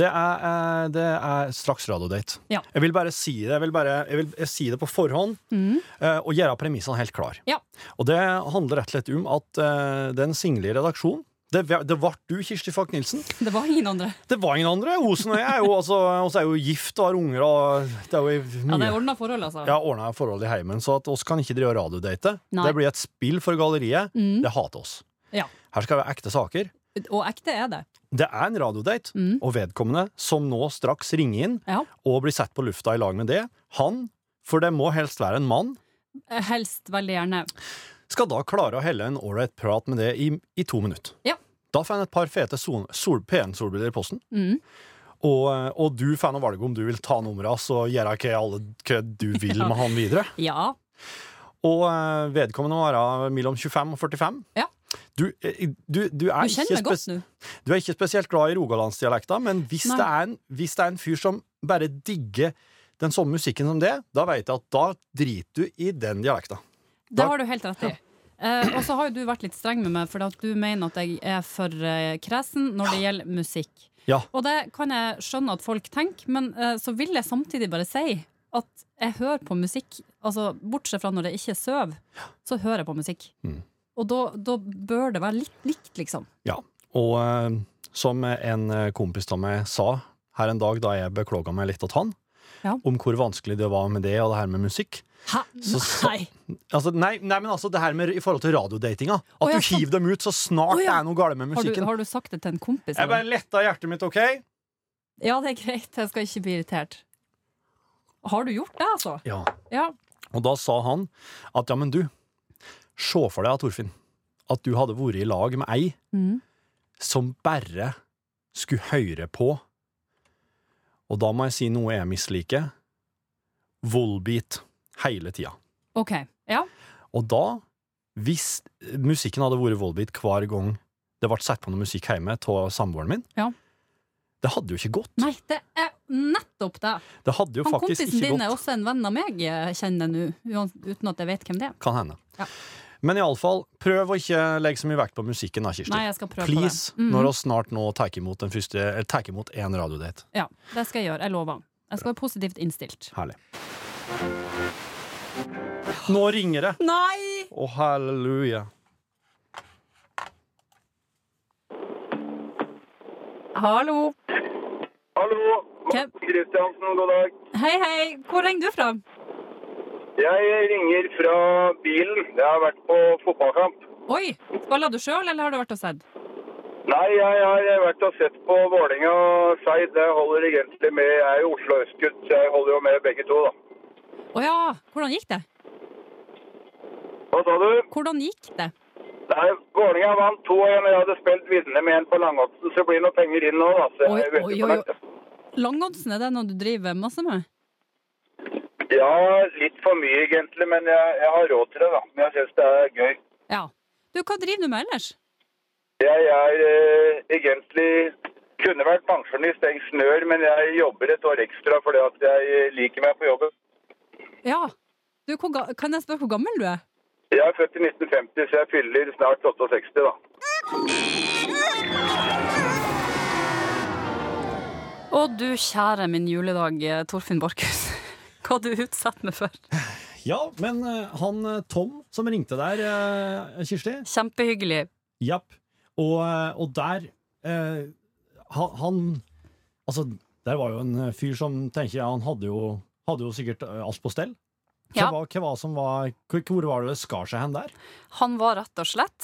Speaker 6: Det er, eh, det er straks radiodate.
Speaker 3: Ja.
Speaker 6: Jeg vil bare si det Jeg vil, bare, jeg vil si det på forhånd eh, og gjøre premissene helt klar.
Speaker 3: Mm. Ja.
Speaker 6: Og det handler rett og slett om at eh, den singelige redaksjonen det, det ble du, Kirsti Falk Nilsen.
Speaker 3: Det var ingen andre.
Speaker 6: Det var ingen andre. Osen og jeg er jo, altså, oss er jo gift og har unger. Og det er jo
Speaker 3: Ja, det
Speaker 6: mye
Speaker 3: er ordna forhold, altså.
Speaker 6: ja, ordna forhold i heimen, så at oss kan ikke drive og radiodate.
Speaker 3: Nei.
Speaker 6: Det blir et spill for galleriet.
Speaker 3: Mm.
Speaker 6: Det hater oss.
Speaker 3: Ja.
Speaker 6: Her skal det være ekte saker.
Speaker 3: Og ekte er det.
Speaker 6: Det er en radiodate,
Speaker 3: Mm.
Speaker 6: og vedkommende som nå straks ringer inn
Speaker 3: Ja.
Speaker 6: og blir sett på lufta i lag med det, han, for det må helst være en mann,
Speaker 3: Helst veldig gjerne.
Speaker 6: skal da klare å helle en ålreit prat med det i, i to minutter.
Speaker 3: Ja.
Speaker 6: Da får han et par fete sol, sol, PN-solbriller i posten,
Speaker 3: Mm.
Speaker 6: og, og du får noe valg om du vil ta nummeret hans og gjøre hva, alle, hva du vil med han videre.
Speaker 3: Ja.
Speaker 6: Og eh, vedkommende må være mellom 25 og 45.
Speaker 3: Ja.
Speaker 6: Du, eh, du, du, er
Speaker 3: Du
Speaker 6: ikke
Speaker 3: kjenner meg godt
Speaker 6: spes-
Speaker 3: nå.
Speaker 6: du er ikke spesielt glad i rogalandsdialekta, men hvis
Speaker 3: Nei.
Speaker 6: det, er en, hvis det er en fyr som bare digger den samme musikken som det, da vet jeg at da driter du i den dialekta.
Speaker 3: Det har du helt rett i. Eh, og så har jo du vært litt streng med meg, for at du mener at jeg er for eh, kresen når det gjelder musikk.
Speaker 6: Ja.
Speaker 3: Og det kan jeg skjønne at folk tenker, men eh, så vil jeg samtidig bare si at jeg hører på musikk, altså bortsett fra når jeg ikke sover, så hører jeg på musikk.
Speaker 6: Mm.
Speaker 3: Og da, da bør det være litt likt, liksom.
Speaker 6: Ja. Og eh, som en eh, kompis av meg sa her en dag da jeg beklaga meg litt til han,
Speaker 3: Ja.
Speaker 6: om hvor vanskelig det var med det og det her med musikk
Speaker 3: Hæ?
Speaker 6: Så-
Speaker 3: Nei!
Speaker 6: Altså, nei, nei, men altså det her med i forhold til radiodatinga. At
Speaker 3: Å, ja,
Speaker 6: du hiver dem ut så
Speaker 3: Å,
Speaker 6: snart
Speaker 3: ja.
Speaker 6: det er noe galt med
Speaker 3: Har du,
Speaker 6: musikken.
Speaker 3: har du sagt det til en kompis?
Speaker 6: Jeg
Speaker 3: eller?
Speaker 6: bare letta hjertet mitt, OK?
Speaker 3: Ja, det er greit. Jeg skal ikke bli irritert. Har du gjort det, altså?
Speaker 6: Ja.
Speaker 3: Ja.
Speaker 6: Og da sa han at ja, men du, se for deg, Torfinn, at du hadde vært i lag med ei
Speaker 3: Mm.
Speaker 6: som bare skulle høre på. Og da må jeg si noe jeg misliker. Volbeat.
Speaker 1: hele tida.
Speaker 3: OK. Ja.
Speaker 1: Og da, hvis musikken hadde vært Volbeat hver gang det ble satt på noe musikk hjemme av samboeren min,
Speaker 3: Ja.
Speaker 1: det hadde jo ikke gått.
Speaker 3: Nei, det er nettopp det.
Speaker 1: Det hadde jo
Speaker 3: Han
Speaker 1: faktisk
Speaker 3: kompisen
Speaker 1: ikke
Speaker 3: din er
Speaker 1: gått.
Speaker 3: også en venn av meg, jeg kjenner nå, uan- uten at jeg vet hvem det er.
Speaker 1: Kan hende.
Speaker 3: Ja.
Speaker 1: Men iallfall, prøv å ikke legge så mye vekt på musikken, da, Kirsti.
Speaker 3: Nei, jeg skal prøve på
Speaker 1: Please,
Speaker 3: det. Mhm.
Speaker 1: når vi snart nå tar imot den første eller tar imot én radiodate.
Speaker 3: Ja, det skal jeg gjøre. Jeg lover. Jeg skal være positivt innstilt.
Speaker 1: Herlig. Nå ringer det!
Speaker 3: Nei!
Speaker 1: Å, halleluja.
Speaker 3: Hallo.
Speaker 8: Hallo,
Speaker 3: Hvem?
Speaker 8: Kristiansen, god dag.
Speaker 3: Hei, hei. Hvor ringer du fra?
Speaker 8: Jeg ringer fra bilen. Jeg har vært på fotballkamp.
Speaker 3: Oi! Spiller du sjøl, eller har du vært og sett?
Speaker 8: Nei, jeg har vært og sett på Vålinga og Skeid. Jeg holder egentlig med. Jeg er jo Oslo Østgutt, så jeg holder jo med begge to, da.
Speaker 3: Å ja. Hvordan gikk det?
Speaker 8: Hva sa du?
Speaker 3: Hvordan gikk det?
Speaker 8: Nei, Vålinga vant 2-1, og jeg hadde spilt vinnende med en på langaksen, så det blir noe penger inn nå, da. Så jeg er
Speaker 3: Oi,
Speaker 8: veldig
Speaker 3: oi, oi, oi.
Speaker 8: fornøyd.
Speaker 3: Langoddsen, er det noe du driver masse med?
Speaker 8: Ja, litt for mye egentlig, men jeg, jeg har råd til det, da. Men jeg syns det er gøy.
Speaker 3: Ja. Du, hva driver du med ellers?
Speaker 8: Jeg er eh, egentlig kunne vært pensjonist, ingeniør, men jeg jobber et år ekstra fordi at jeg liker meg på jobben.
Speaker 3: Ja. Du, hvor, ga- kan jeg spørre hvor gammel du er?
Speaker 8: Jeg er født i 1950, så jeg fyller snart 68, da.
Speaker 3: Å du kjære min juledag, Torfinn Borchhus. Hva du utsetter meg for.
Speaker 6: Ja, men eh, han eh, Tom som ringte der, eh, Kirsti
Speaker 3: Kjempehyggelig.
Speaker 6: Japp. Og, eh, og der eh, han, han Altså, der var jo en eh, fyr som tenker jeg, han hadde jo, hadde jo sikkert eh, alt på stell. Hva,
Speaker 3: Ja.
Speaker 6: var- hva var som var hvor- Hvor var det det skar seg hen der?
Speaker 3: Han var rett og slett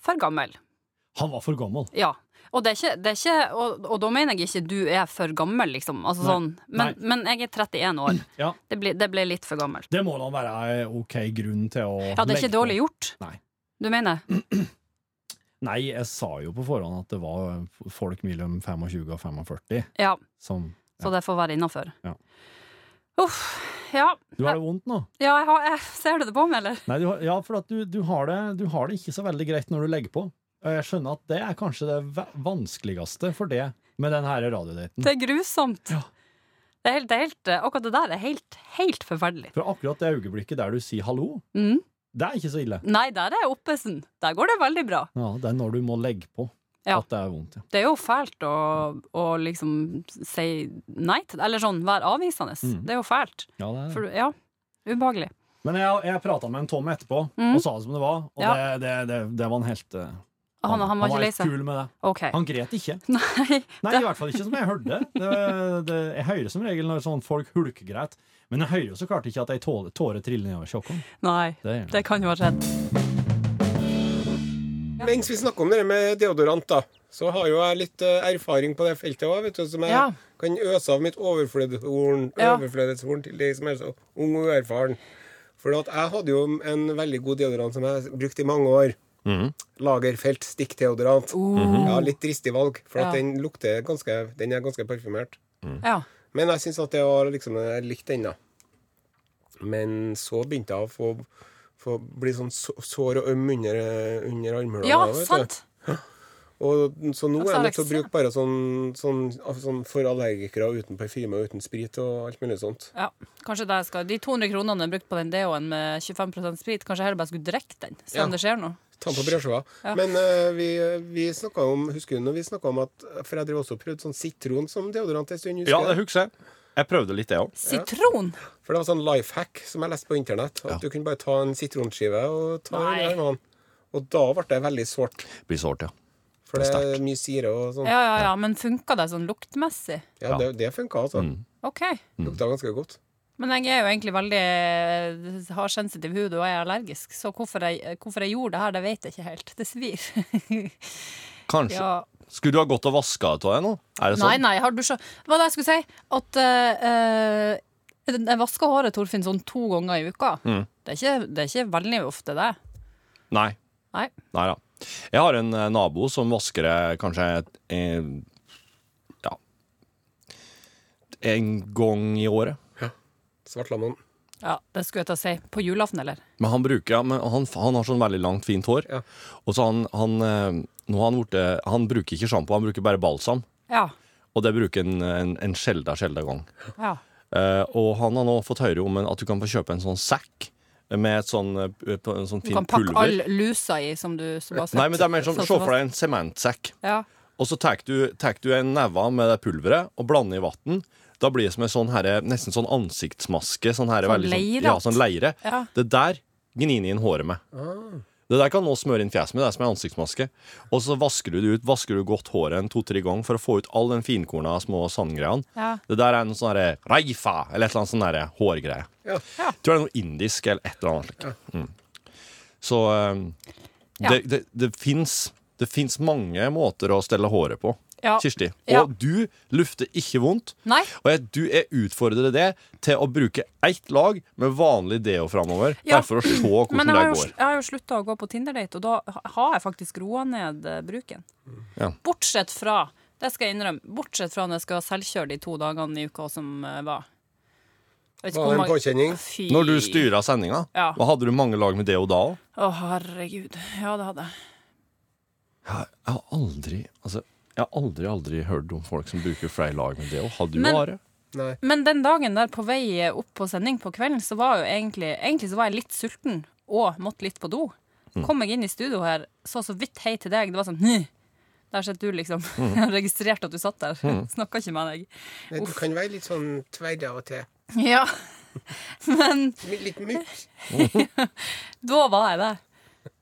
Speaker 3: for gammel.
Speaker 6: Han var for gammel.
Speaker 3: Ja. Og, det er ikke, det er ikke, og, og da mener jeg ikke du er for gammel, liksom. Altså,
Speaker 6: Nei.
Speaker 3: sånn. men, men jeg er 31 år.
Speaker 6: Ja.
Speaker 3: Det, blir, det ble litt for gammelt.
Speaker 6: Det må da være en ok grunn til å
Speaker 3: Ja, det er ikke dårlig gjort.
Speaker 6: Nei. Mm.
Speaker 3: Du mener?
Speaker 6: Nei, jeg sa jo på forhånd at det var folk mellom 25 og 45
Speaker 3: Ja.
Speaker 6: som
Speaker 3: Så det får være innafor.
Speaker 6: Ja.
Speaker 3: Uff. Ja.
Speaker 6: Du har det vondt nå?
Speaker 3: ja jeg har, jeg, ser du det på meg, eller?
Speaker 6: Nei, du har, ja, for at du, du, har det, du har det ikke så veldig greit når du legger på. Og jeg skjønner at det er kanskje det va- vanskeligste for det med den her radiodaten.
Speaker 3: Det er grusomt.
Speaker 6: Ja.
Speaker 3: Det er helt, det er helt, eh, akkurat det der er helt, helt forferdelig.
Speaker 6: For akkurat det øyeblikket der du sier hallo,
Speaker 3: Mm.
Speaker 6: det er ikke så ille.
Speaker 3: Nei, der er jeg oppesen. Der går det veldig bra.
Speaker 6: Ja, Det er når du må legge på
Speaker 3: Ja.
Speaker 6: at det er vondt. Ja.
Speaker 3: Det er jo fælt å, å liksom si nei til Eller sånn, være avvisende.
Speaker 6: Mm.
Speaker 3: Det er jo fælt.
Speaker 6: Ja, det er.
Speaker 3: For, ja, ubehagelig.
Speaker 6: Men jeg, jeg prata med en Tom etterpå
Speaker 3: Mm.
Speaker 6: og sa det som det var, og
Speaker 3: Ja.
Speaker 6: det, det, det, det var han helt eh,
Speaker 3: Han, han, var ikke lei
Speaker 6: helt
Speaker 3: seg?
Speaker 6: kul med det.
Speaker 3: Ok.
Speaker 6: Han gret ikke.
Speaker 3: Nei.
Speaker 6: Nei, i hvert fall ikke som jeg hørte. Det, det, jeg hører som regel når sånn folk hulkegret, men jeg hører jo så klart ikke at ei tåle- tåre triller nedover kjokken.
Speaker 3: Nei.
Speaker 6: Det-
Speaker 3: Det kan jo ha skjedd.
Speaker 2: Mens vi snakker om det med deodorant, da, så har jo jeg litt eh, erfaring på det feltet òg, vet du, som jeg
Speaker 3: Ja.
Speaker 2: kan øse av mitt overflødighetshorn
Speaker 3: Ja.
Speaker 2: overflødighetshorn til deg som er så ung og uerfaren. For at jeg hadde jo en veldig god deodorant som jeg brukte i mange år. Lagerfelt stikkdeodorant. Ja, litt dristig valg, for at
Speaker 3: Uh. Ja.
Speaker 2: den lukter ganske Den er ganske parfymert.
Speaker 6: Mm.
Speaker 3: Ja.
Speaker 2: Men jeg syns at det var liksom Jeg likte den, da. Men så begynte jeg å få, få bli sånn så- sår og øm under, under armhulene.
Speaker 3: ja,
Speaker 2: vet du.
Speaker 3: sant.
Speaker 2: Og, så nå er jeg nødt
Speaker 3: Altså,
Speaker 2: til å
Speaker 3: Alexia.
Speaker 2: bruke bare sånn, sånn, av- sånn for allergikere uten parfyme og uten sprit og alt mulig sånt.
Speaker 3: Ja, kanskje det jeg skal De 200 kronene jeg brukte på den deoen med 25 sprit, kanskje jeg heller bare skulle drikke den, se
Speaker 2: Ja.
Speaker 3: om det skjer noe.
Speaker 2: Ta den på brødskiva.
Speaker 3: Ja.
Speaker 2: Men eh, vi, vi snakka om Husker du når vi snakka om at For jeg drev også og prøvde sånn sitron som deodorant en stund.
Speaker 1: Ja,
Speaker 2: husker
Speaker 1: det
Speaker 2: jeg.
Speaker 1: husker jeg. Jeg prøvde litt, jeg òg.
Speaker 3: Sitron!
Speaker 2: For det var sånn life hack som jeg leste på internett. At du kunne bare ta en sitronskive og ta den
Speaker 3: Nei.
Speaker 2: i armene. Og da ble det veldig sårt.
Speaker 1: Blir sårt, ja.
Speaker 2: For
Speaker 1: Det
Speaker 2: det
Speaker 1: er
Speaker 2: er mye syre og sånn.
Speaker 3: Ja, ja, ja, men funka det sånn luktmessig?
Speaker 2: Ja, det, det funka, altså.
Speaker 1: Mm,
Speaker 3: OK.
Speaker 2: Lukta ganske godt.
Speaker 3: Men jeg er jo egentlig veldig har sensitiv hud og er allergisk, så hvorfor jeg, hvorfor jeg gjorde det her, det vet jeg ikke helt. Det svir.
Speaker 1: Kanskje.
Speaker 3: ja.
Speaker 1: Skulle du ha gått og vaska av deg nå? Er det
Speaker 3: Nei,
Speaker 1: sånn?
Speaker 3: nei, jeg har dusja Hva var det jeg skulle si? At eh, eh, jeg vasker håret Torfinn sånn to ganger i uka.
Speaker 1: Mm.
Speaker 3: Det, er ikke, det er ikke veldig ofte, det.
Speaker 1: Nei.
Speaker 3: Nei.
Speaker 1: Nei da. Jeg har en eh, nabo som vasker det kanskje eh, ja en gang i året.
Speaker 2: Svartlamon.
Speaker 9: Ja, det skulle jeg til å si. På julaften, eller?
Speaker 1: Men han bruker ja, men han, han har sånn veldig langt, fint hår.
Speaker 2: Ja.
Speaker 1: Og så han, han, eh, nå har han, borte, han bruker ikke sjampo, han bruker bare balsam.
Speaker 9: Ja.
Speaker 1: Og det bruker en, en, en sjelda, sjelda gang.
Speaker 9: ja.
Speaker 1: Eh, og han har nå fått høre om en, at du kan få kjøpe en sånn sekk med et sånn, eh, på en sånn
Speaker 9: Du
Speaker 1: fin
Speaker 9: kan pakke
Speaker 1: pulver.
Speaker 9: all lusa i, som du som har sett.
Speaker 1: Nei, men det er mer som,
Speaker 9: Sånn
Speaker 1: Se
Speaker 9: som-
Speaker 1: for deg en sementsekk.
Speaker 9: Ja.
Speaker 1: Og så tar du, tar du en neve med det pulveret og blander i vann. Da blir det som en sånn herre, nesten sånn ansiktsmaske. Sånn, herre,
Speaker 9: Sånn
Speaker 1: veldig
Speaker 9: leire,
Speaker 1: Sånn, ja, sånn leire.
Speaker 9: Ja.
Speaker 1: Det der gnir han inn håret med. Det der kan nå smøre inn fjeset med, det er som en ansiktsmaske. Og så vasker du det ut, vasker du godt håret en to-tre ganger for å få ut all den finkorna små sandgreiene.
Speaker 9: Ja.
Speaker 1: Det der er en sånn herre reifa, eller et eller annet sånn herre hårgreie.
Speaker 2: Ja.
Speaker 1: Tror det er noe indisk eller et eller annet slikt. Mm. Så eh, det, det, det fins det fins mange måter å stelle håret på,
Speaker 9: Ja.
Speaker 1: Kirsti. Og
Speaker 9: Ja.
Speaker 1: du lufter ikke vondt.
Speaker 9: Nei.
Speaker 1: Og jeg, du, jeg utfordrer deg til å bruke ett lag med vanlig deo framover.
Speaker 9: Ja.
Speaker 1: Bare for å se hvordan
Speaker 9: Men jeg
Speaker 1: det
Speaker 9: har jo,
Speaker 1: går.
Speaker 9: jeg har jo slutta å gå på Tinder-date, og da ha- har jeg faktisk roa ned eh, bruken.
Speaker 1: Ja.
Speaker 9: Bortsett fra det skal jeg innrømme, bortsett fra når jeg skal ha selvkjøre de to dagene i uka som eh, var. Jeg vet ikke
Speaker 2: Var
Speaker 9: hvor
Speaker 2: det en
Speaker 9: mange-
Speaker 2: påkjenning?
Speaker 9: Fy.
Speaker 1: Når du styra sendinga,
Speaker 9: Ja.
Speaker 1: hva hadde du mange lag med deo da òg?
Speaker 9: Å, herregud. Ja, det hadde jeg.
Speaker 1: Jeg har aldri altså, jeg har aldri, aldri hørt om folk som bruker flere lag med deo. Hadde du
Speaker 9: Men-
Speaker 1: Are?
Speaker 2: Nei.
Speaker 9: Men den dagen der på vei opp på sending på kvelden, så var jo egentlig, egentlig så var jeg litt sulten og måtte litt på do.
Speaker 1: Mm.
Speaker 9: Kom jeg inn i studio her, så så vidt hei til deg. Det var sånn «Hm». Der sitter du, liksom.
Speaker 1: Mm.
Speaker 9: Jeg har registrert at du satt der. Snakka ikke med deg.
Speaker 2: Nei, Du kan være litt sånn tverr av og til.
Speaker 9: Ja. Men
Speaker 2: Litt mykk.
Speaker 9: da var jeg der.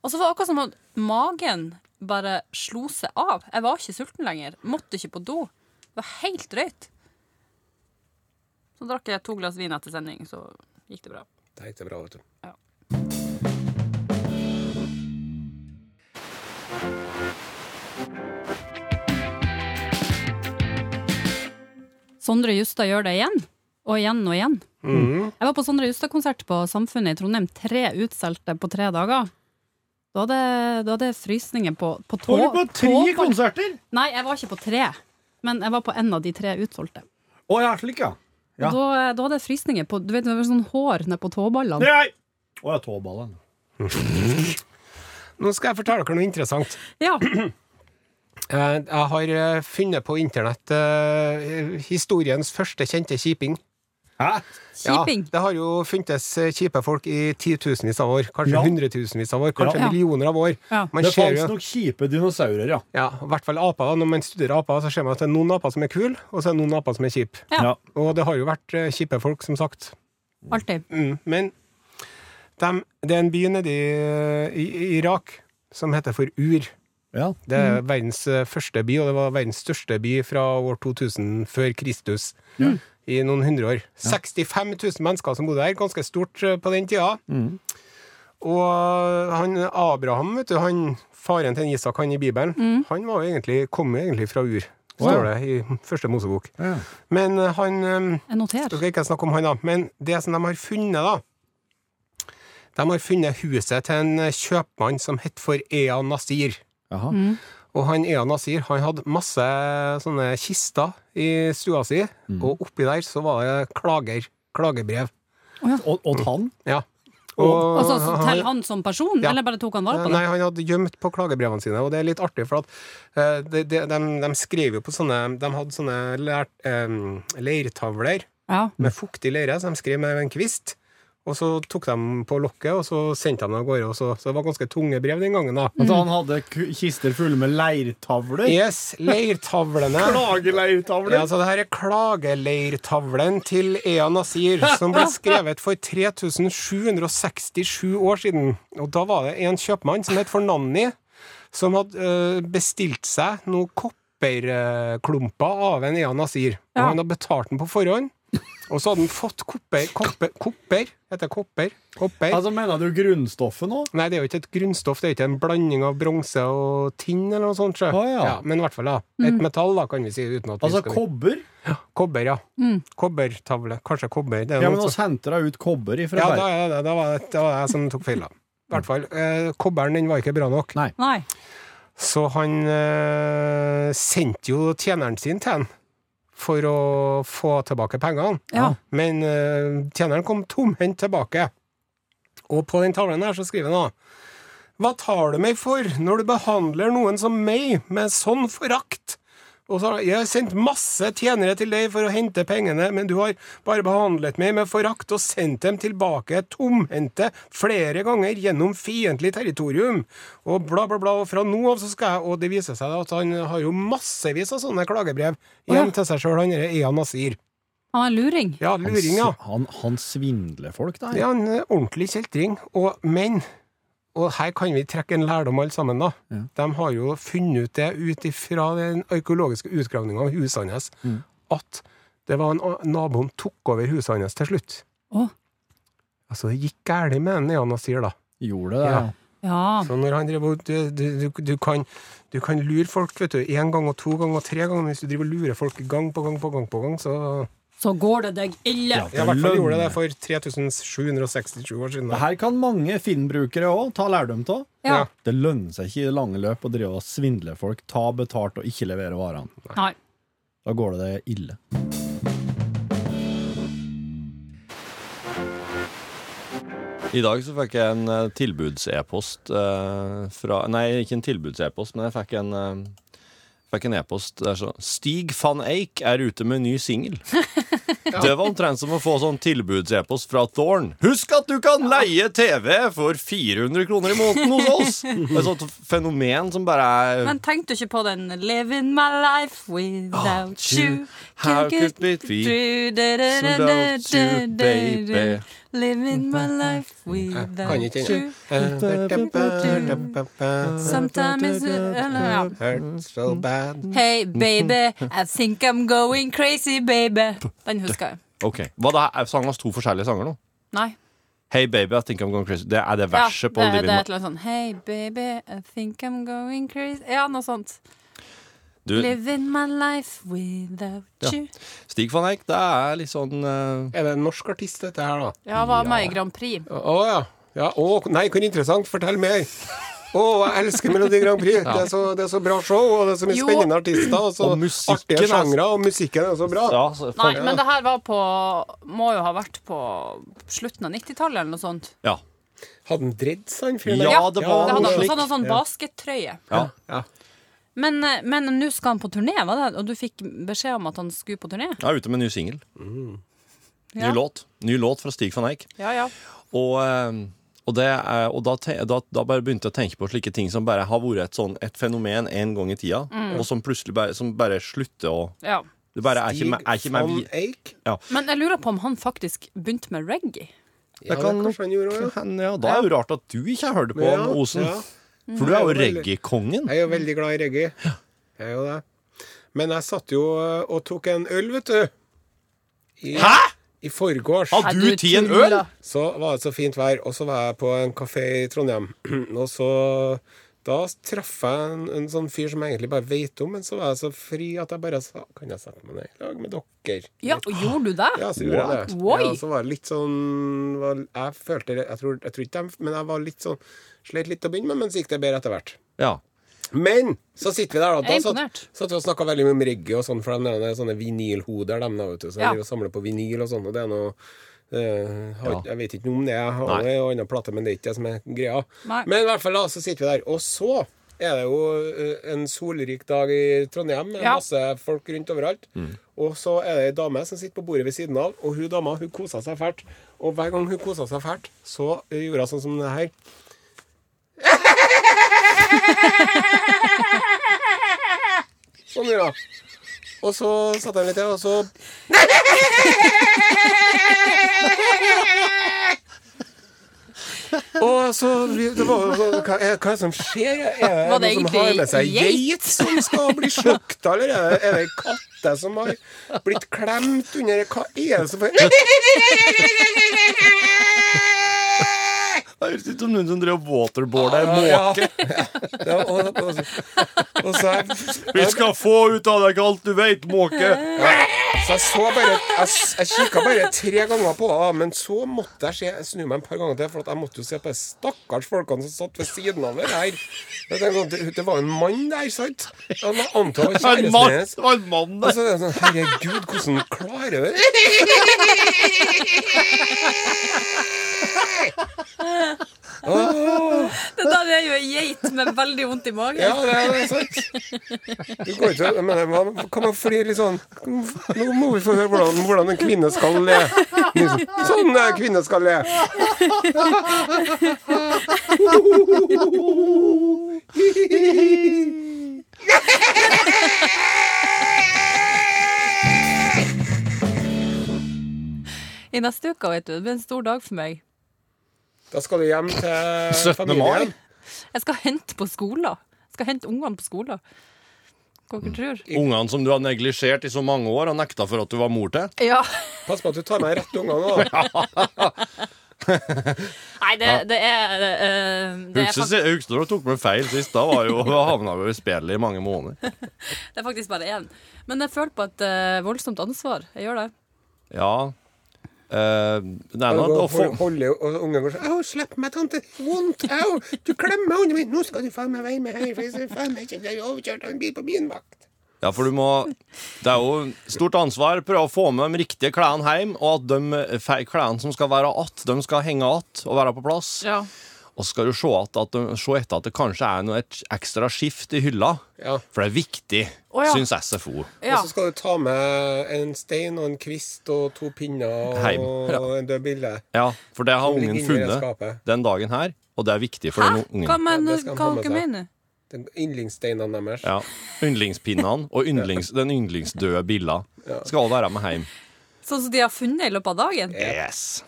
Speaker 9: Og så var det akkurat som at magen bare slo seg av. Jeg var ikke sulten lenger. Måtte ikke på do. Det var helt drøyt. Så drakk jeg to glass vin etter sending, så gikk det bra.
Speaker 2: Det gikk det bra, vet du.
Speaker 3: Sondre Justad gjør det igjen, og igjen og igjen.
Speaker 6: Mhm.
Speaker 3: Jeg var på Sondre Justad-konsert på Samfunnet i Trondheim. Tre utsolgte på tre dager. Da hadde, da hadde jeg frysninger på, på tå.
Speaker 6: Var du på tre
Speaker 3: tåpark-
Speaker 6: konserter?
Speaker 3: Nei, jeg var ikke på tre. Men jeg var på en av de tre utsolgte.
Speaker 6: Å, ja, slik, ja.
Speaker 3: Og Da, da hadde jeg frysninger på Du vet, det var sånn hår ned på tåballene.
Speaker 6: Nei! Å, ja, tåballen.
Speaker 2: Nå skal jeg fortelle dere noe interessant.
Speaker 3: Ja.
Speaker 2: Eh, Jeg har eh, funnet på internett eh, historiens første kjente kjiping.
Speaker 6: Hæ?
Speaker 3: Kjiping.
Speaker 2: Ja, det har jo funtes eh, kjipe folk i titusenvis av år. Kanskje
Speaker 6: Ja.
Speaker 2: hundretusenvis av år. Kanskje
Speaker 3: Ja.
Speaker 2: millioner av år.
Speaker 3: Ja.
Speaker 2: Man
Speaker 6: Det
Speaker 2: ser
Speaker 6: fantes
Speaker 2: jo,
Speaker 6: nok kjipe dinosaurer, ja.
Speaker 2: ja, I hvert fall aper. da. Når man studerer aper, så ser man at det er noen aper som er kule, og så er det noen aper som er kjipe.
Speaker 3: Ja.
Speaker 6: Ja.
Speaker 2: Og det har jo vært eh, kjipe folk, som sagt.
Speaker 3: Alltid.
Speaker 2: Mm. Men dem- det er en by nede eh, i, i Irak som heter for Ur.
Speaker 6: Ja.
Speaker 2: Det er verdens eh, første by, og det var verdens største by fra år 2000 før Kristus. I noen hundre år. 65 000 mennesker som bodde her, ganske stort eh, på den tida. Og eh, han Abraham, vet du, han, faren til Isak, han i Bibelen, han var jo egentlig, kom jo egentlig fra Ur, står det i første Mosebok.
Speaker 6: Ja.
Speaker 2: Men eh, han eh,
Speaker 3: Jeg
Speaker 2: jeg
Speaker 3: noterer.
Speaker 2: skal ikke snakke om han, da. Men det som de har funnet, da De har funnet huset til en eh, kjøpmann som het for Ea Nasir.
Speaker 6: Jaha.
Speaker 2: Og han Ea Nasir han hadde masse sånne kister i stua si, og oppi der så var det klager. Klagebrev.
Speaker 6: Og, og han?
Speaker 2: Ja. Og-
Speaker 3: Altså så til han som person,
Speaker 2: Ja.
Speaker 3: eller bare tok han vare på det?
Speaker 2: Nei, han hadde gjemt på klagebrevene sine, og det er litt artig, for at eh, de, de, de, de skrev jo på sånne De hadde sånne lært, em, leirtavler
Speaker 3: Ja.
Speaker 2: med fuktig leire, så de skrev med en kvist. Og så tok de på lokket, og så sendte de det av gårde. Og så, så det var ganske tunge brev den gangen, da.
Speaker 6: At han hadde k- kister fulle med leirtavler?
Speaker 2: Yes, leirtavlene. Ja,
Speaker 6: Klageleirtavler?
Speaker 2: så det her er klageleirtavlen til Ea Nasir, som ble skrevet for 3767 år siden. Og da var det en kjøpmann som het for Nanni, som hadde eh, bestilt seg noen kopperklumper av en Ea Nasir. Og
Speaker 3: Ja.
Speaker 2: han hadde betalt den på forhånd. Og så hadde han fått kopper Kopper? kopper heter det kopper? kopper.
Speaker 6: Altså, mener du grunnstoffet nå?
Speaker 2: Nei, det er jo ikke et grunnstoff, det er ikke en blanding av bronse og tinn eller noe sånt. sjø.
Speaker 6: Å, ja.
Speaker 2: men i hvert fall, da. Et metall, da, kan vi si. uten at vi
Speaker 6: Altså
Speaker 2: skal...
Speaker 6: kobber?
Speaker 2: Kobber, ja. Kobbertavle. Kanskje kobber. Det er
Speaker 6: Ja, men
Speaker 2: noe
Speaker 6: oss henter da ut kobber
Speaker 2: sånt. ja, da,
Speaker 6: ifra verden.
Speaker 2: er det- da, var det, da var det jeg som tok feil, da. I hvert fall. Eh, kobberen den var ikke bra nok.
Speaker 6: Nei.
Speaker 3: Nei.
Speaker 2: Så han eh, sendte jo tjeneren sin til han for å få tilbake pengene.
Speaker 3: Ja.
Speaker 2: Men eh, tjeneren kom tomhendt tilbake. Og på den tavlen her så skriver han da Hva tar du meg for når du behandler noen som meg med sånn forakt? Og så har han, jeg har sendt masse tjenere til deg for å hente pengene, men du har bare behandlet meg med forakt og sendt dem tilbake tomhendte flere ganger gjennom fiendtlig territorium, og bla, bla, bla, og fra nå av så skal jeg Og det viser seg at han har jo massevis av sånne klagebrev hjem til seg sjøl, han derre Eyan Asir.
Speaker 3: Han er luring.
Speaker 2: Ja,
Speaker 6: Han,
Speaker 2: luring, ja.
Speaker 6: han, han svindler folk, da.
Speaker 2: Ja, en eh, ordentlig kjeltring. Og, men Og her kan vi trekke en lærdom alle sammen, da. De har jo funnet ut det ut ifra den arkeologiske utgravninga av huset hans, at det var en a- naboen tok over huset hans til slutt.
Speaker 3: Å.
Speaker 2: Altså, det gikk galt med den Neana sier, da.
Speaker 6: Gjorde det.
Speaker 2: Ja.
Speaker 3: Ja.
Speaker 2: Så når han driver og- du, du, du, du, kan, du kan lure folk, vet du. Én gang og to ganger og tre ganger. Hvis du driver og lurer folk gang på gang på gang på gang, så
Speaker 3: Så går det deg ille.
Speaker 2: Ja, I hvert fall gjorde jeg det for 3767 år siden. da.
Speaker 6: Det her kan mange filmbrukere òg ta lærdom av.
Speaker 3: Ja.
Speaker 6: Det lønner seg ikke i det lange løp å drive og svindle folk, ta betalt og ikke levere varene.
Speaker 3: Nei.
Speaker 6: Da går det det ille.
Speaker 1: I dag så fikk jeg en eh, tilbuds-e-post eh, fra Nei, ikke en tilbuds-e-post, men jeg fikk en eh, Fikk en e-post der sånn Stig van Eijk er ute med ny singel. Det var omtrent som å få sånn tilbuds-e-post fra Thorn. Husk at du kan leie TV for 400 kroner i måneden hos oss! Det er et sånt fenomen som bare er
Speaker 9: Men tenkte du ikke på den 'Living my life without you'? Can't
Speaker 1: How could
Speaker 9: get
Speaker 1: it be
Speaker 9: through, da, da, da, da,
Speaker 1: without you,
Speaker 9: da, da, da.
Speaker 1: baby?
Speaker 9: Living my life
Speaker 2: Kan
Speaker 9: without
Speaker 2: ikke
Speaker 9: you. Sometimes ja.
Speaker 2: Hurt so bad.
Speaker 9: Hey, baby, I think I'm going crazy, baby. Den husker jeg.
Speaker 1: Ok, Hva da? Er sangen hans to forskjellige sanger nå?
Speaker 9: Nei.
Speaker 1: Hey baby, I think I'm going crazy. Det er det
Speaker 9: Ja,
Speaker 1: verset på
Speaker 9: det, det
Speaker 1: Living
Speaker 9: er
Speaker 1: My
Speaker 9: et eller annet sånn Hey, baby, I think I'm going crazy. Ja, noe sånt.
Speaker 1: Du,
Speaker 9: Living my life without
Speaker 1: Ja.
Speaker 9: you.
Speaker 1: Stig van Eijk, det er litt sånn eh,
Speaker 2: Er det en norsk artist, dette her, da?
Speaker 9: Ja, hva med i Grand Prix?
Speaker 2: Å ja. ja. Å, nei, hvor interessant. Fortell mer. Å, jeg elsker Melodi Grand Prix. Det, er så, det er så bra show, og det er så mye
Speaker 9: Jo.
Speaker 2: spennende artister, og så
Speaker 1: Og musikken
Speaker 2: artige
Speaker 1: er-
Speaker 2: sjangre, og musikken er så bra.
Speaker 1: Ja, så-
Speaker 9: Nei, men det her var på Må jo ha vært på slutten av 90-tallet eller noe sånt.
Speaker 1: ja.
Speaker 2: Hadde han dreads, han fyren
Speaker 1: Ja, det
Speaker 9: Det hadde
Speaker 1: var noe
Speaker 9: han
Speaker 1: slikt.
Speaker 9: også hadde han sånn baskettrøye.
Speaker 1: ja.
Speaker 9: Men eh, men nå skal han på turné, var det? Og du fikk beskjed om at han skulle på turné?
Speaker 1: Jeg er ute med en ny singel. Ny
Speaker 9: Ja.
Speaker 1: låt. Ny låt fra Stig van Eijk.
Speaker 9: Ja, ja.
Speaker 1: Og, eh, og, det, er- og da, te- da, da bare begynte jeg å tenke på slike ting som bare har vært et, sånn, et fenomen en gang i tida,
Speaker 9: Mm.
Speaker 1: og som plutselig bare, som bare slutter å
Speaker 9: ja.
Speaker 1: Det bare er ikke, med- er ikke med vi.
Speaker 2: Eik?
Speaker 9: Men jeg lurer på om han faktisk begynte med reggae.
Speaker 2: Ja, det
Speaker 1: kan
Speaker 2: kanskje han gjorde også, ja.
Speaker 1: Hen, ja, da er det jo rart at du ikke hørte på
Speaker 2: Ja,
Speaker 1: han, Osen.
Speaker 2: ja.
Speaker 1: For du er jo reggaekongen.
Speaker 2: Jeg er jo veldig glad i reggae. Jeg er jo det. Men jeg satt jo eh, og tok en øl, vet du. I, Hæ?! I forgårs.
Speaker 1: Har
Speaker 9: Nei,
Speaker 1: du
Speaker 9: du
Speaker 1: tatt en
Speaker 9: tuller.
Speaker 1: øl?
Speaker 2: Så var det så fint vær, og så var jeg på en kafé i Trondheim. Og så Da traff jeg en, en sånn fyr som jeg egentlig bare veit om, men så var jeg så fri at jeg bare sa Kan jeg sette meg ned i lag med dere?
Speaker 9: Ja, og gjorde du det?
Speaker 2: Ja, så gjorde jeg det.
Speaker 9: Oi.
Speaker 2: Ja, så var det litt sånn var, Jeg følte det- Jeg tror, jeg tror ikke de Men jeg var litt sånn Slet litt til å begynne med, men så gikk det bedre etter hvert.
Speaker 1: Ja.
Speaker 2: Men så sitter vi der, da.
Speaker 9: Jeg
Speaker 2: da
Speaker 9: er
Speaker 2: satt,
Speaker 9: imponert.
Speaker 2: satt vi og snakka veldig mye om reggae og sånn, for de er sånne vinylhoder, dem da, vet du. Så de
Speaker 9: Ja.
Speaker 2: driver og samler på vinyl og sånn, og det er noe eh, har,
Speaker 1: Ja.
Speaker 2: Jeg vet ikke noe om det. Jeg har
Speaker 1: Nei.
Speaker 2: en annen plate, men det er ikke det som er greia.
Speaker 9: Nei.
Speaker 2: Men i hvert fall, da, så sitter vi der. Og så er det jo eh, en solrik dag i Trondheim, med
Speaker 9: Ja.
Speaker 2: masse folk rundt overalt. Og så er det ei dame som sitter på bordet ved siden av, og hun dama hun kosa seg fælt. Og hver gang hun kosa seg fælt, så eh, gjorde hun sånn som det her. Sånn gjør jeg. Og så satt jeg litt til, og så Og så det var, jo sånn, hva, er, hva er det som skjer? Er det
Speaker 9: Var det
Speaker 2: noen som
Speaker 9: egentlig
Speaker 2: har med seg
Speaker 9: geit?
Speaker 2: geit som skal bli slakta, eller er det, er det katter som har blitt klemt under Hva er det som
Speaker 1: Det høres ut som noen som drev waterboarder.
Speaker 2: Ja, ja, og, og, og så
Speaker 1: Vi skal få ut av deg alt du veit, måke.
Speaker 2: Så Altså, jeg så bare Jeg, jeg kikka bare tre ganger på henne, men så måtte jeg, se, jeg snu meg en par ganger til, for at jeg måtte jo se på de stakkars folkene som satt ved siden av henne her. Jeg tenkte sånn, Det, det var jo en mann der, sant? Jeg antar det var
Speaker 1: En
Speaker 2: kjæresten
Speaker 1: mann-
Speaker 2: hennes.
Speaker 1: det var en mann
Speaker 2: Og
Speaker 1: der.
Speaker 2: så er det sånn Herregud, hvordan klarer du det? Åh,
Speaker 3: Det der er jo ei geit med veldig vondt i magen.
Speaker 2: ja, det er det er sant. Det går ikke men det var- Kan man flire litt sånn Nå må vi få høre hvordan, hvordan en kvinne skal le. Sånn er kvinne skal le.
Speaker 9: I neste uke, vet du. Det blir en stor dag for meg.
Speaker 2: Da skal du hjem til
Speaker 1: 17. mai?
Speaker 2: familien.
Speaker 9: Jeg skal hente på skolen. Jeg skal hente ungene på skolen. Hva
Speaker 2: Mm.
Speaker 9: dere tror?
Speaker 1: Ungene som du har neglisjert i så mange år og nekta for at du var mor til.
Speaker 9: Ja.
Speaker 2: Pass på at du tar med rett ungene nå.
Speaker 9: Nei, det, det er eh, det er, fakt-
Speaker 1: Husker du tok med feil sist? Da var jo, havna vi jo i spillet i mange måneder.
Speaker 9: det er faktisk bare én. Men jeg føler på et eh, voldsomt ansvar. Jeg gjør det.
Speaker 1: Ja. Eh, det er
Speaker 2: Og
Speaker 1: noe
Speaker 2: går-
Speaker 1: å få
Speaker 2: hold- holder jo- Og ungen går sånn Au, slipp meg, tante. Vondt. Au. Du klemmer hunden min. Nå skal du faen meg veie meg her, for jeg skal faen meg ikke bli overkjørt av en bil på min vakt.
Speaker 1: Ja, for du må Det er jo stort ansvar. Prøve å få med de riktige klærne hjem, og at de fe- klærne som skal være att, de skal henge att og være på plass.
Speaker 9: Ja.
Speaker 1: Og så skal du se, at, at, de- se etter at det kanskje er noe et ekstra skift i hylla.
Speaker 2: Ja.
Speaker 1: For det er viktig,
Speaker 9: Å, ja.
Speaker 1: syns SFO.
Speaker 9: ja.
Speaker 2: Og så skal du ta med en stein og en kvist og to pinner og
Speaker 1: Heim. Ja.
Speaker 2: en død bille.
Speaker 1: Ja, For det har
Speaker 2: Som ligger
Speaker 1: ungen
Speaker 2: inni det
Speaker 1: funnet
Speaker 2: skapet.
Speaker 1: den dagen her, og det er viktig for
Speaker 9: Hæ?
Speaker 1: den
Speaker 9: Hva,
Speaker 1: ungen.
Speaker 9: men,
Speaker 2: Ja, det skal han
Speaker 9: hva
Speaker 2: få med
Speaker 9: dere
Speaker 2: seg.
Speaker 9: mener
Speaker 2: Den Yndlingssteinene deres.
Speaker 1: Ja. Yndlingspinnene og yndlings, den yndlingsdøde billa skal også være med hjem.
Speaker 9: Sånn som de har funnet i løpet av dagen?
Speaker 1: Yes.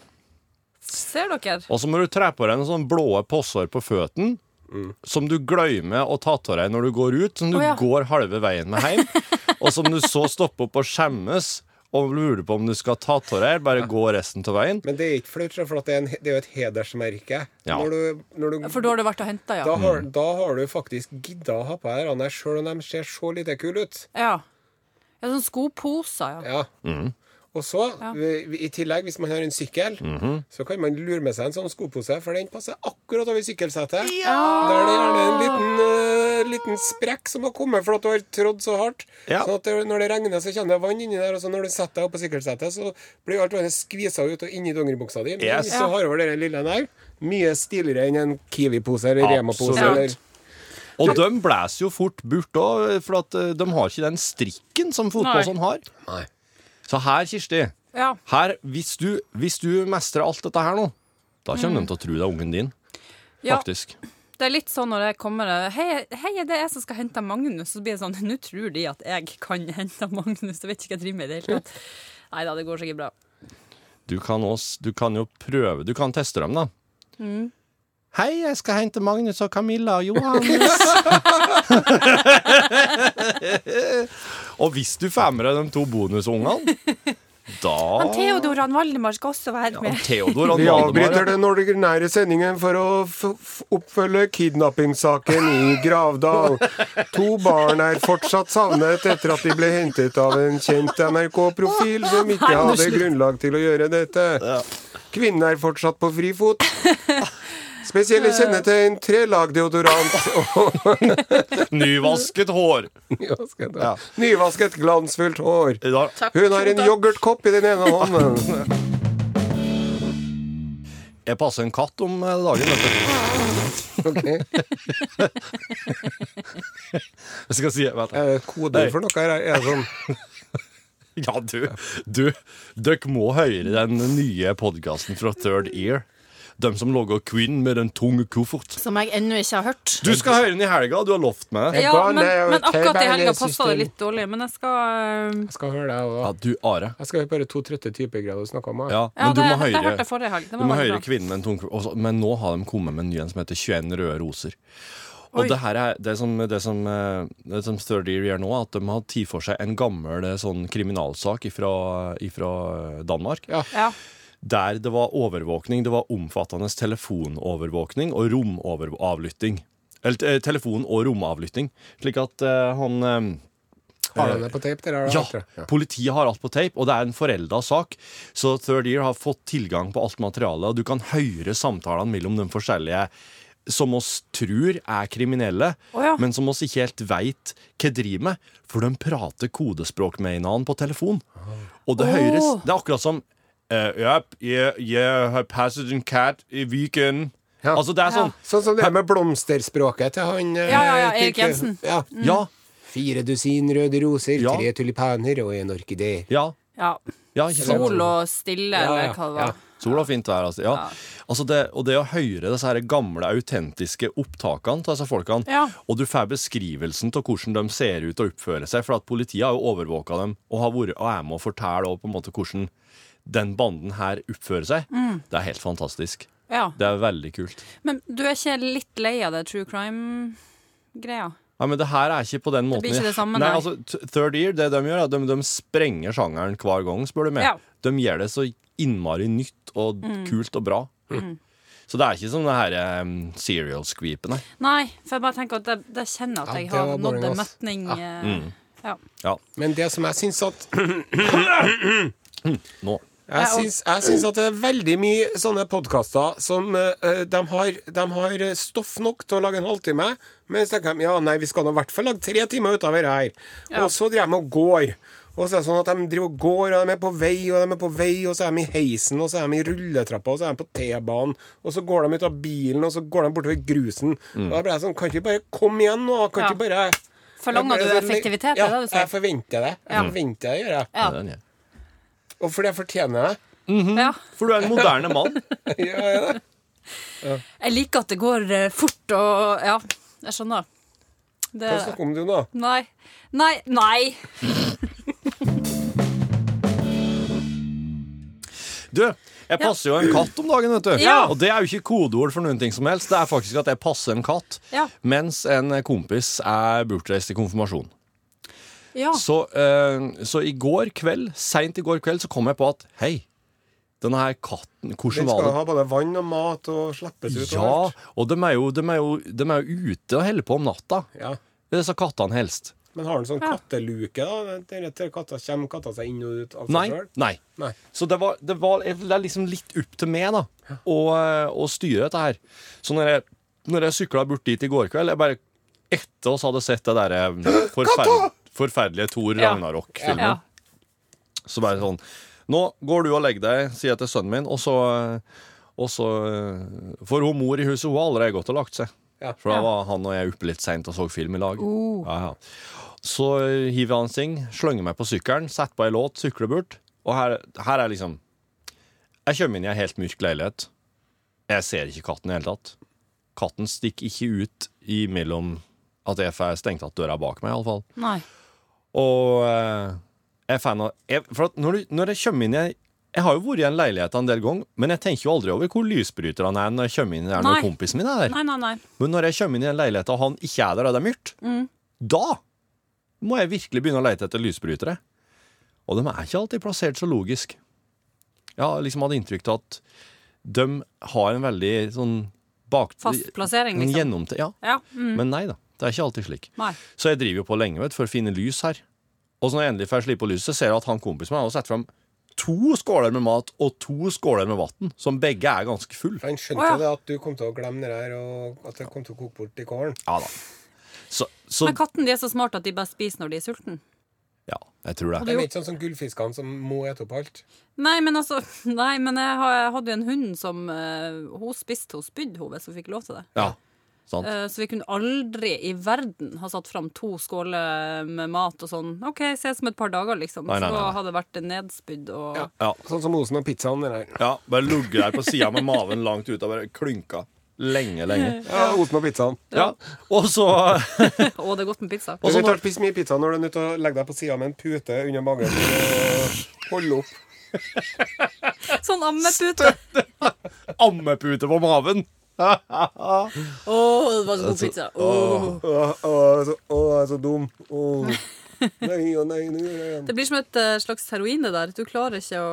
Speaker 9: Ser dere?
Speaker 1: Og så må du tre på deg noen sånne blå posser på føttene.
Speaker 2: Mm.
Speaker 1: Som du glemmer å ta av deg når du går ut. Som du
Speaker 9: Å, ja.
Speaker 1: går halve veien med hjem. og som du så stopper opp og skjemmes og lurer på om du skal ta av deg, eller bare gå resten av veien.
Speaker 2: Men det er ikke flaut, for at det, er en, det er jo et hedersmerke.
Speaker 1: Ja. Mm.
Speaker 2: Når du, når du,
Speaker 9: For da har det vært og henta,
Speaker 2: da,
Speaker 9: ja.
Speaker 2: har, da har du faktisk gidda å ha på deg denne, sjøl om de ser så lite kule ut.
Speaker 9: ja. Ja, sånn skoposer, ja.
Speaker 2: Ja.
Speaker 1: Mm.
Speaker 2: Og så, vi- vi- i tillegg, hvis man har en sykkel,
Speaker 1: Mhm.
Speaker 2: så kan man lure med seg en sånn skopose, for den passer akkurat over sykkelsetet. Der det er gjerne en liten, eh, liten sprekk som har kommet for at du har trådd så hardt.
Speaker 1: Ja.
Speaker 2: Sånn at det, når det regner, så kommer det vann inni der, og så når du setter deg opp på sykkelsetet, så blir alt vannet skvisa ut og inni dongeribuksa di. Men
Speaker 1: Yes.
Speaker 2: så har over den lille der, mye stiligere enn en Kiwi-pose eller Rema-pose.
Speaker 1: Absolutt.
Speaker 2: Eller,
Speaker 1: Og de blæser jo fort bort òg, for at eh, de har ikke den strikken som fotballsene har.
Speaker 2: Nei.
Speaker 1: Så her, Kirsti,
Speaker 9: ja.
Speaker 1: her, hvis, du, hvis du mestrer alt dette her nå, da kommer de til å tro det er ungen din,
Speaker 9: Ja,
Speaker 1: faktisk.
Speaker 9: det er litt sånn når jeg kommer Hei, hei det er jeg som skal hente Magnus. Så blir det sånn Nå tror de at jeg kan hente Magnus. Jeg vet ikke hva jeg driver med i det hele tatt. Nei da, det går sikkert bra.
Speaker 1: Du kan, også, du kan jo prøve Du kan teste dem, da. Hei, jeg skal hente Magnus og Camilla og Johannes. og hvis du får med deg de to bonusungene, da
Speaker 5: Han Theodor han Valdemar skal også være
Speaker 1: Han
Speaker 5: med.
Speaker 1: Theodor og
Speaker 2: Vi avbryter
Speaker 1: Valdemar.
Speaker 2: den ordinære sendingen for å f f oppfølge kidnappingssaken i Gravdal. To barn er fortsatt savnet etter at de ble hentet av en kjent NRK-profil som ikke hadde grunnlag til å gjøre dette. Kvinnen er fortsatt på frifot. Spesielle kjennetegn, trelag deodorant og
Speaker 1: Nyvasket hår.
Speaker 2: nyvasket, nyvasket glansfullt hår.
Speaker 1: Da-
Speaker 2: Hun har en yoghurtkopp i den ene hånden.
Speaker 1: Jeg passer en katt om eh, dagen. vet du.
Speaker 2: Ok.
Speaker 1: Jeg skal si
Speaker 2: Er
Speaker 1: vent.
Speaker 2: det Eh, koder for noe her? Er det sånn
Speaker 1: Ja, du, du Dere må høre den nye podkasten fra Third Ear. De som lager Queen med den tunge koffert.
Speaker 9: Som jeg ennå ikke har hørt.
Speaker 1: Du skal høre den i helga, du har lovt meg det.
Speaker 9: Ja,
Speaker 2: Gone
Speaker 9: men,
Speaker 2: out,
Speaker 9: men akkurat i helga passa
Speaker 2: system.
Speaker 9: det litt dårlig. Men jeg skal øh,
Speaker 2: Jeg skal høre deg òg.
Speaker 1: Ja, du, Are.
Speaker 2: Jeg skal høre bare to trøtte typer greier du snakka om. jeg.
Speaker 1: Ja,
Speaker 9: Ja,
Speaker 1: men du
Speaker 9: det,
Speaker 1: må
Speaker 9: det hørte
Speaker 1: høre
Speaker 9: jeg forrige helg. Det
Speaker 1: Du
Speaker 9: var
Speaker 1: må
Speaker 9: veldig
Speaker 1: høre
Speaker 9: bra.
Speaker 1: kvinnen med en tung også, Men nå har de kommet med en ny en som heter 21 røde roser. Og det her er det som, det som, eh, det som Third Year gjør nå, er at de har tatt for seg en gammel eh, sånn kriminalsak fra Danmark.
Speaker 9: Ja.
Speaker 1: Der det var overvåkning, det var omfattende telefonovervåkning og romavlytting. Eller eh, telefon- og romavlytting. Slik at eh, han eh,
Speaker 2: Har de det på tape? Dere har det,
Speaker 1: Ja,
Speaker 2: vet du?
Speaker 1: politiet har alt på tape, og det er en forelda sak. Så Third Year har fått tilgang på alt materialet, og du kan høre samtalene mellom de forskjellige som oss tror er kriminelle,
Speaker 9: Å ja.
Speaker 1: men som oss ikke helt veit hva driver med, for de prater kodespråk med hverandre på telefon. Og
Speaker 9: Åh.
Speaker 1: det høres Det er akkurat som eh, yep, yeah, yeah, I passed a cat i Viken.
Speaker 2: Ja.
Speaker 1: Altså, det er sånn
Speaker 2: Sånn som det er med blomsterspråket til han eh,
Speaker 9: Ja, ja, ja,
Speaker 2: Kirke-
Speaker 9: Erik Jensen.
Speaker 2: Ja.
Speaker 1: Ja,
Speaker 2: Fire dusin røde roser,
Speaker 1: Ja.
Speaker 2: tre tulipaner og en orkidé.
Speaker 1: ja,
Speaker 9: Ja.
Speaker 1: ja. ikke sant?
Speaker 9: Sol og stille,
Speaker 2: Ja, ja,
Speaker 9: eller hva det var.
Speaker 2: ja.
Speaker 1: Sol og fint vær, altså. Ja. altså det, og det å høre disse her gamle, autentiske opptakene av disse folkene,
Speaker 9: Ja.
Speaker 1: og du får beskrivelsen av hvordan de ser ut og oppfører seg, for at politiet har jo overvåka dem og, har vært, og er med å fortelle og på en måte hvordan den banden her oppfører seg, det er helt fantastisk.
Speaker 9: Ja.
Speaker 1: Det er veldig kult.
Speaker 9: Men du er ikke litt lei av det true crime-greia?
Speaker 1: Nei, men det her er ikke på den måten
Speaker 9: blir ikke det samme,
Speaker 1: Nei,
Speaker 9: nei.
Speaker 1: altså, t- Third Year, det de gjør, er at de, de sprenger sjangeren hver gang, spør du meg.
Speaker 9: Ja. Mm.
Speaker 1: De gjør det så innmari nytt og kult og bra. Så det er ikke som det her um, serial skvipet, nei.
Speaker 9: Nei, for jeg bare tenker at jeg, jeg kjenner at
Speaker 2: Ja,
Speaker 9: jeg
Speaker 2: det
Speaker 9: har
Speaker 2: var boring,
Speaker 9: nådd en
Speaker 2: ass. Mm.
Speaker 9: metning. eh, Ja.
Speaker 1: Ja,
Speaker 2: Men det som jeg syns at
Speaker 1: nå.
Speaker 2: Jeg syns, jeg syns at det er veldig mye sånne podkaster som eh, de, har, de har stoff nok til å lage en halvtime, men så tenker de ja, nei, vi skal nå i hvert fall lage tre timer ut av dette her. Og så driver de og går. Og så er det sånn at de driver og går, og de er på vei, og de er på vei, og så er de i heisen, og så er de i rulletrappa, og så er de på T-banen, og så går de ut av bilen, og så går de bortover grusen. Og da blir jeg sånn, kan ikke bare komme igjen nå? Kan
Speaker 9: Ja.
Speaker 2: ikke bare
Speaker 9: Forlanger du effektivitet?
Speaker 2: Ja,
Speaker 9: er det du
Speaker 2: jeg
Speaker 9: sier?
Speaker 2: forventer det. Jeg forventer det, gjør jeg.
Speaker 1: Ja. den gjør.
Speaker 2: Og fordi jeg fortjener det.
Speaker 9: Ja.
Speaker 1: For du er en moderne mann.
Speaker 2: Gjør jeg det?
Speaker 9: Jeg liker at det går eh, fort og Ja, jeg skjønner. Det,
Speaker 2: Hva
Speaker 3: Eh,
Speaker 2: snakker om du nå?
Speaker 9: nei. Nei. Nei.
Speaker 1: Du, jeg passer jo en katt om dagen, vet du.
Speaker 9: Ja.
Speaker 1: Og det er jo ikke kodeord for noen ting som helst. Det er faktisk at jeg passer en katt
Speaker 9: Ja.
Speaker 1: mens en kompis er bortreist i konfirmasjon.
Speaker 9: Ja.
Speaker 1: Så, eh, så i går kveld, seint i går kveld, så kom jeg på at hei, denne her katten,
Speaker 2: Den
Speaker 1: hvordan var
Speaker 2: skal
Speaker 1: det?
Speaker 2: ha både vann og mat og slippes ut.
Speaker 1: Ja,
Speaker 2: overalt.
Speaker 1: og de er, jo, de, er jo, de er jo ute og holder på om natta.
Speaker 2: ja.
Speaker 1: Disse kattene helst.
Speaker 2: Men har den sånn katteluke, da? Til, til katta, kommer katta seg inn og ut av
Speaker 1: Nei.
Speaker 2: seg sjøl?
Speaker 1: nei.
Speaker 2: Nei.
Speaker 1: Så det, var, det, var, det er liksom litt opp til meg da å, å styre dette her. Så når jeg, når jeg sykla bort dit i går kveld Jeg bare etter oss hadde sett det derre forferd, forferdelige Thor
Speaker 9: Ja.
Speaker 1: Ragnarok-filmen.
Speaker 9: Ja.
Speaker 1: Så bare sånn Nå går du og legger deg, sier jeg til sønnen min, og så, og så For hun mor i huset, hun har allerede gått og lagt seg.
Speaker 2: Ja.
Speaker 1: For da var han og jeg oppe litt seint og så film i lag. Ja, ja. Så hiver jeg han sting, slenger meg på sykkelen, setter på ei låt, sykler bort. Og her, her er liksom Jeg kommer inn i ei helt mørk leilighet. Jeg ser ikke katten i det hele tatt. Katten stikker ikke ut imellom at jeg får stengt igjen døra bak meg, iallfall.
Speaker 9: Nei.
Speaker 1: Og eh, jeg er fan av jeg, For at når, du, når jeg kommer inn i Jeg har jo vært i en leilighet en del ganger, men jeg tenker jo aldri over hvor lysbryter han er når jeg kommer inn der når
Speaker 9: Nei.
Speaker 1: kompisen min er der.
Speaker 9: Nei, nei, nei.
Speaker 1: Men når jeg kommer inn i en leilighet og han ikke er der, og det er mørkt,
Speaker 9: Mm.
Speaker 1: da må jeg virkelig begynne å lete etter lysbrytere. Og de er ikke alltid plassert så logisk. Jeg har liksom hatt inntrykk av at de har en veldig sånn bak...
Speaker 9: Fast plassering,
Speaker 1: en
Speaker 9: liksom.
Speaker 1: gjennomte- Ja.
Speaker 9: Ja. Mm.
Speaker 1: Men nei da. Det er ikke alltid slik.
Speaker 9: Nei.
Speaker 1: Så jeg driver jo på lenge vet, du, for å finne lys her. Og så når jeg endelig får slippe på lyset, ser jeg at han kompisen min har satt fram to skåler med mat og to skåler med vann, som begge er ganske full.
Speaker 2: For han skjønte
Speaker 9: Å, ja.
Speaker 2: det at du kom til å glemme det der, og at det kom til å koke bort i kålen.
Speaker 1: Ja da. Så, så
Speaker 9: Men katten de er så smart at de bare spiser når de er sulten
Speaker 1: Ja, jeg tror det.
Speaker 2: De er ikke sånn som gullfiskene som må ete opp alt.
Speaker 9: Nei, men altså Nei, men jeg, har, jeg hadde jo en hund som eh, Hun spiste, hun spydde hun hvis hun fikk lov til det.
Speaker 1: Ja, sant.
Speaker 9: Eh, så vi kunne aldri i verden ha satt fram to skåler med mat og sånn. OK, ses om et par dager, liksom.
Speaker 1: Nei, nei,
Speaker 9: Så
Speaker 1: nei, nei.
Speaker 9: hadde det vært nedspydd og
Speaker 2: Ja.
Speaker 1: Ja.
Speaker 2: Sånn som Osen og pizzaen. Det der.
Speaker 1: Ja, bare ligge der på sida med maven langt ut og bare klynka. Lenge, lenge.
Speaker 2: Ja, Osen og pizzaen.
Speaker 1: Ja, Og så
Speaker 9: Å, det er godt med pizza.
Speaker 1: Og
Speaker 2: Du
Speaker 1: så
Speaker 2: vet
Speaker 1: når-
Speaker 2: å spise mye pizza når du er nødt til å legge deg på sida med en pute under magen og holde opp.
Speaker 9: Sånn ammepute.
Speaker 1: ammepute på maven.
Speaker 9: Å, det var så god pizza.
Speaker 3: Altså,
Speaker 9: Åh.
Speaker 2: Åh, åh, så, åh, jeg er så dum. Åh. Nei, å nei, nå gjør jeg
Speaker 9: Det blir som et eh, slags heroin, det der. Du klarer ikke å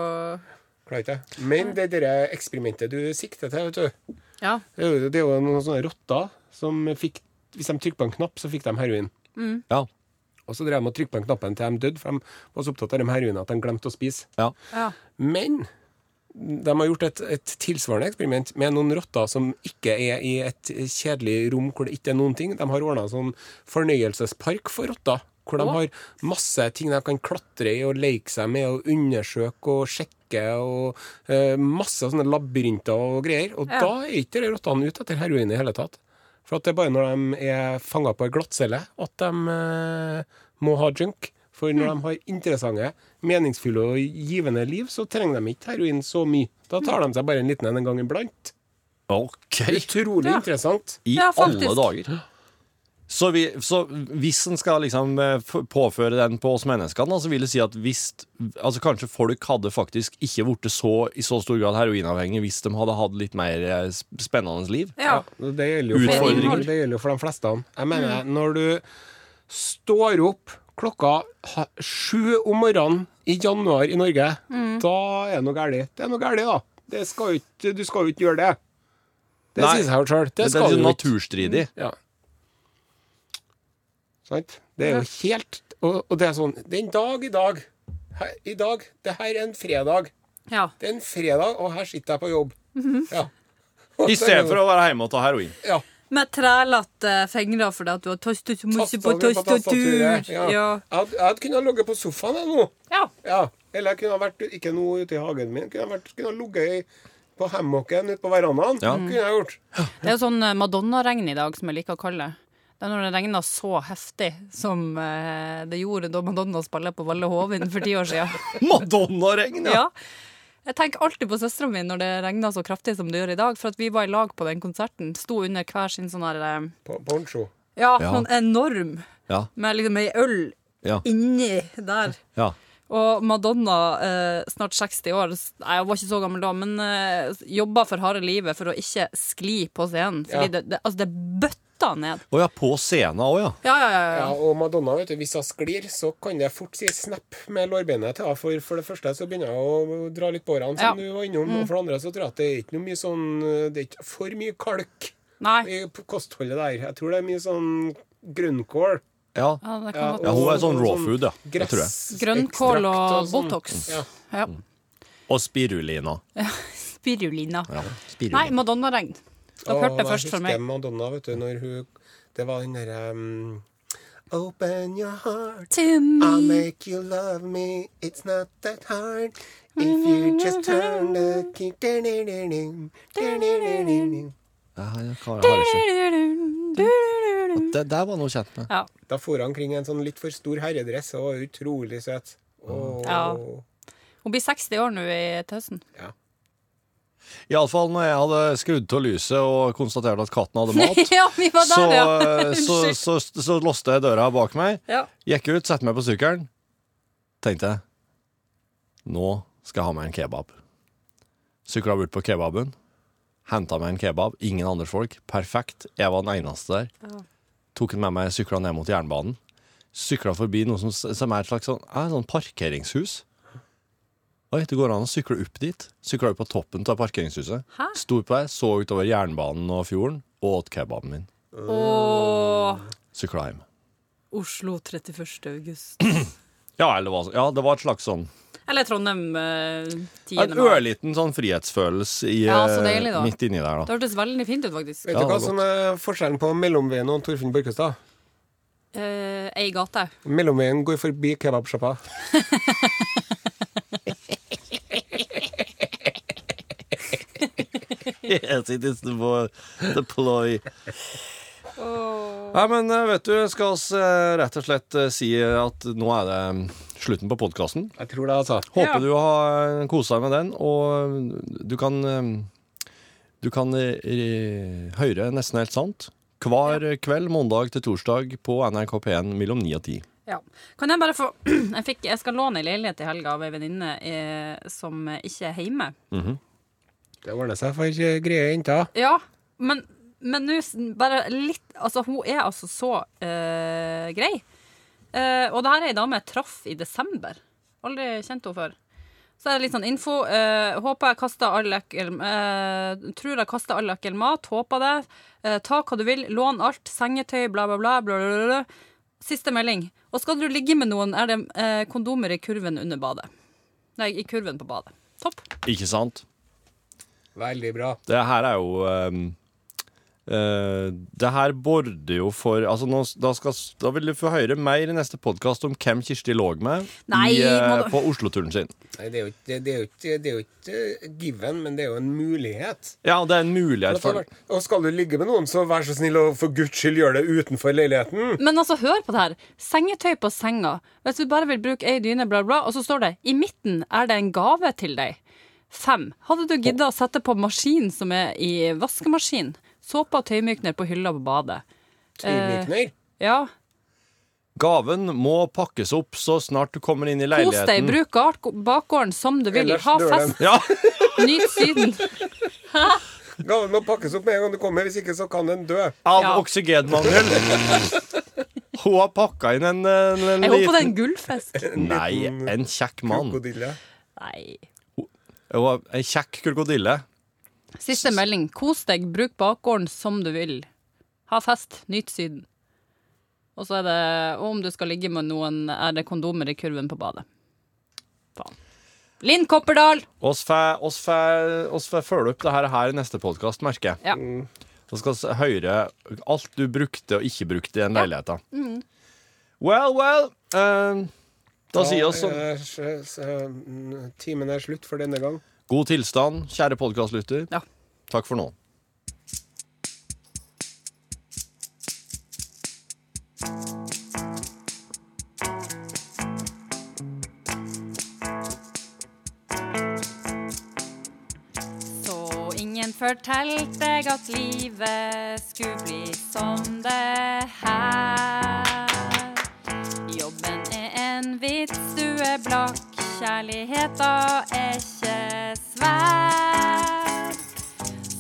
Speaker 2: Klarer ikke det. Men det derre eksperimentet du sikter til, vet du
Speaker 9: Ja.
Speaker 2: Det er jo- det er jo noen sånne rotter som fikk Hvis de trykket på en knapp, så fikk de heroin.
Speaker 1: Ja.
Speaker 2: Og så drev de og trykket på den knappen til de døde, for de var så opptatt av de heroinene at de glemte å spise.
Speaker 1: Ja.
Speaker 3: Ja.
Speaker 2: Men de har gjort et, et tilsvarende eksperiment med noen rotter som ikke er i et kjedelig rom hvor det ikke er noen ting. De har ordna sånn fornøyelsespark for rotter. Hvor de har masse ting de kan klatre i og leke seg med og undersøke og sjekke. Og eh, masse sånne labyrinter og greier. Og da er ikke de rottene ute etter heroin i hele tatt. For at det er bare når de er fanga på ei glattcelle at de eh, må ha junk. For når de har interessante, meningsfulle og givende liv, så trenger de ikke heroin så mye. Da tar de seg bare en liten en en gang iblant.
Speaker 1: OK!
Speaker 2: Utrolig interessant.
Speaker 1: I
Speaker 3: Ja, faktisk.
Speaker 1: alle dager. Så, vi, så hvis en skal liksom eh, f- påføre den på oss menneskene, da, så vil det si at hvis altså Kanskje folk hadde faktisk ikke blitt så, i så stor grad heroinavhengig hvis de hadde hatt litt mer eh, sp- spennende liv.
Speaker 3: Ja.
Speaker 2: Og Det gjelder jo for,
Speaker 1: Utfordringer.
Speaker 2: det gjelder jo for de fleste. Jeg mener, når du står opp klokka ha- sju om morgenen i januar i Norge, da er det noe galt. Det er noe galt, da. Det skal jo ikke, du skal jo ikke gjøre det. Det
Speaker 1: Nei.
Speaker 2: sier seg jo sjøl. Det
Speaker 1: Det, er
Speaker 2: skal
Speaker 1: litt
Speaker 2: du jo ikke.
Speaker 1: naturstridig.
Speaker 2: Ja. Sant? Det er jo helt og, og det er sånn Den dag i dag her, I dag. Det her er en fredag.
Speaker 3: Ja.
Speaker 2: Det er en fredag, og her sitter jeg på jobb. ja. Og
Speaker 1: I
Speaker 2: så er
Speaker 1: stedet
Speaker 2: det
Speaker 1: for
Speaker 2: jo-
Speaker 1: å være hjemme og ta heroin.
Speaker 2: ja.
Speaker 10: Med
Speaker 9: eh,
Speaker 10: trælete fingre fordi at du har tastet så mye på
Speaker 2: Tastaturet på
Speaker 10: tastatur.
Speaker 2: tastaturet, ja.
Speaker 10: Ja.
Speaker 2: Jeg hadde- jeg hadde kunnet ligget på sofaen jeg, nå.
Speaker 3: Ja.
Speaker 2: Ja. Eller jeg kunne ha vært ikke nå ute i hagen min. Kunne ha vært- kunne ha ligget i- på hammocken ute på verandaen.
Speaker 1: Ja.
Speaker 2: Kunne jeg gjort.
Speaker 3: Det er jo sånn eh, Madonna-regn i dag, som jeg liker å kalle det. Det er når det regner så heftig som eh, det gjorde da Madonna spilte på Valle Hovin for ti år siden.
Speaker 1: Madonna-regn, ja!
Speaker 3: Ja. Jeg tenker alltid på søstera mi når det regner så kraftig som det gjør i dag. For at vi var i lag på den konserten. Sto under hver sin sånn her eh,
Speaker 2: På poncho.
Speaker 3: Ja,
Speaker 1: Ja.
Speaker 3: sånn enorm.
Speaker 1: Ja.
Speaker 3: Med liksom ei øl
Speaker 1: Ja.
Speaker 3: inni der.
Speaker 1: ja.
Speaker 3: Og Madonna, eh, snart 60 år s- Nei, hun var ikke så gammel da, men eh, jobba for harde livet for å ikke skli på scenen. Fordi
Speaker 2: Ja.
Speaker 3: det, det, altså, det bøtta ned.
Speaker 1: Å ja, på scenen òg, ja.
Speaker 3: Ja, ja, ja. ja.
Speaker 2: Ja, og Madonna, vet du, hvis hun sklir, så kan det fort si snapp med lårbeinet til henne. For, for det første så begynner hun å dra litt på årene, som du var innom.
Speaker 3: Mm.
Speaker 2: Og for det andre så tror jeg at det er ikke noe mye sånn Det er ikke for mye kalk
Speaker 3: Nei.
Speaker 2: i på kostholdet der. Jeg tror det er mye sånn grønnkål.
Speaker 1: ja.
Speaker 3: Ja, det kan
Speaker 2: Ja,
Speaker 3: godt-
Speaker 1: Ja, hun er
Speaker 2: og-
Speaker 1: sånn raw
Speaker 2: og
Speaker 1: food, ja. Det tror jeg.
Speaker 2: gress-
Speaker 3: Grønnkål
Speaker 2: ekstrakt
Speaker 3: og
Speaker 2: sånn.
Speaker 3: Botox.
Speaker 2: Ja.
Speaker 3: Ja.
Speaker 1: Og spirulina.
Speaker 3: Spirulina.
Speaker 1: Ja,
Speaker 3: Nei,
Speaker 1: spirulina.
Speaker 3: Madonna-regn. Dere
Speaker 2: Åh,
Speaker 3: hørte det
Speaker 2: jeg
Speaker 3: først fra
Speaker 2: husker
Speaker 3: meg.
Speaker 2: Madonna, vet du, når hun Det var den derre um, Open your heart.
Speaker 3: To
Speaker 2: I'll
Speaker 3: me.
Speaker 2: make you love me, it's not that hard. If you just turn the key
Speaker 1: Ja, jeg har- jeg har ikke. Det der var noe kjent med.
Speaker 3: Ja.
Speaker 2: Da for han omkring en sånn litt for stor herredress og var utrolig søt. Åh.
Speaker 3: Ja. Hun blir 60 år nå i til høsten.
Speaker 1: Iallfall når jeg hadde skrudd av lyset og konstatert at katten hadde mat.
Speaker 3: ja, vi var
Speaker 1: så, eh,
Speaker 3: der, ja.
Speaker 1: så,
Speaker 3: Unnskyld.
Speaker 1: så, så, låste jeg døra bak meg,
Speaker 3: Ja.
Speaker 1: gikk ut, satte meg på sykkelen. Tenkte jeg Nå skal jeg ha meg en kebab. Sykla bort på kebaben, henta meg en kebab. Ingen andre folk. Perfekt. Jeg var den eneste der. Tok den med meg, sykla ned mot jernbanen. Sykla forbi noe som, som er et slags sånn, er et sånn parkeringshus. Oi, det går an å sykle opp dit. Sykla opp på toppen av parkeringshuset.
Speaker 3: Hæ?
Speaker 1: Sto på der, så utover jernbanen og fjorden, og åt kebaben min.
Speaker 3: Og
Speaker 1: Sykla hjem.
Speaker 3: Oslo 31. august.
Speaker 1: Ja, eller hva, ja, det var et slags sånn
Speaker 3: Eller Trondheim eh, 10.
Speaker 1: En
Speaker 3: mai.
Speaker 1: ørliten sånn frihetsfølelse i,
Speaker 3: Ja, så
Speaker 1: eh,
Speaker 3: deilig da.
Speaker 1: midt inni der, da.
Speaker 3: Det hørtes veldig fint ut, faktisk.
Speaker 2: Vet
Speaker 1: Ja,
Speaker 2: du hva
Speaker 1: det var
Speaker 2: som er forskjellen på Mellomveien og Torfinn Borkestad?
Speaker 3: Eh, Ei gate.
Speaker 2: Mellomveien går forbi kebabsjappa.
Speaker 1: Yes, it is the, boy- the ploy. Nei, men eh, vet du, skal oss eh, rett og slett eh, si at nå er det mm, slutten på podkasten.
Speaker 2: Jeg tror det, altså.
Speaker 1: Håper du har kosa deg med den, og mm, du kan eh, Du kan eh, eh, høre Nesten helt sant hver kveld, mandag til torsdag, på NRK P1 mellom 9 og 10.
Speaker 3: Ja. Kan jeg bare få Jeg, fikk, jeg skal låne ei leilighet i helga av ei venninne eh, som ikke er hjemme.
Speaker 2: Det ordner seg for eh, greie jenter.
Speaker 3: Ja, men men nå s- bare litt Altså, hun er altså så eh, grei. Eh, og det her er ei dame jeg traff i desember. Aldri kjent henne før. Så er det litt sånn info. eh, håper jeg kaster all ekkel eh, Tror jeg kaster all ekkel mat. Håper det. Eh, ta hva du vil. Lån alt. Sengetøy, bla, bla, bla. bla, bla, bla. Siste melding. Og skal du ligge med noen, er det eh, kondomer i kurven under badet. Nei, i kurven på badet. Topp.
Speaker 1: Ikke sant?
Speaker 2: Veldig bra.
Speaker 1: Det her er jo ehm, eh, Det her border jo for altså nå, da, skal, da vil du få høre mer i neste podkast om hvem Kirsti lå med
Speaker 3: Nei,
Speaker 1: i, eh,
Speaker 3: må du-
Speaker 1: på Oslo-turen sin.
Speaker 2: Nei, det er jo ikke, det er jo ikke, det er jo ikke eh, given, men det er jo en mulighet.
Speaker 1: Ja, det er en mulighet for
Speaker 2: Og skal du ligge med noen, så vær så snill og for guds skyld gjør det utenfor leiligheten.
Speaker 3: Men altså, hør på det her. Sengetøy på senga. Hvis du bare vil bruke ei dyne, bla, bla, og så står det i midten er det en gave til deg. Fem. Hadde du gidda å sette på maskin som er i vaskemaskin? Såpe og tøymykner på hylla på badet.
Speaker 2: Tøymykner.
Speaker 3: Ja.
Speaker 1: Gaven må pakkes opp så snart du kommer inn i
Speaker 3: Kos deg.
Speaker 1: leiligheten.
Speaker 3: Bruk art- bakgården som du vil.
Speaker 2: Ellers
Speaker 3: Ha
Speaker 2: dør
Speaker 3: fest.
Speaker 1: Ja,
Speaker 3: Nyt Syden.
Speaker 2: Gaven må pakkes opp med en gang du kommer, hvis ikke så kan den dø.
Speaker 1: Av
Speaker 3: Ja.
Speaker 1: oksygenmangel. Hun har pakka inn en, en, en
Speaker 3: Jeg håper det er
Speaker 1: liten
Speaker 3: en gullfisk.
Speaker 1: Nei, en kjekk mann.
Speaker 2: Krokodille.
Speaker 3: Nei.
Speaker 1: Hun har En kjekk krokodille.
Speaker 3: Siste melding. Kos deg, bruk bakgården som du vil. Ha fest, nyt Syden. Og så er det og om du skal ligge med noen, er det kondomer i kurven på badet. Faen. Linn Kopperdal!
Speaker 1: Oss får oss får- oss får følge opp det her, her i neste podkast, merker jeg.
Speaker 3: Ja.
Speaker 1: Så skal vi høre alt du brukte og ikke brukte i den leiligheten.
Speaker 3: Mm.
Speaker 1: Well, well. eh, da sier vi sånn
Speaker 2: Eh, så- så- Timen er slutt for denne gang.
Speaker 1: god tilstand, kjære podkastlytter.
Speaker 3: Ja.
Speaker 1: Takk for nå.
Speaker 3: Så ingen fortalte deg at livet skulle bli som det her. Jobben er en vits, du er blakk, kjærligheta er ikke svær.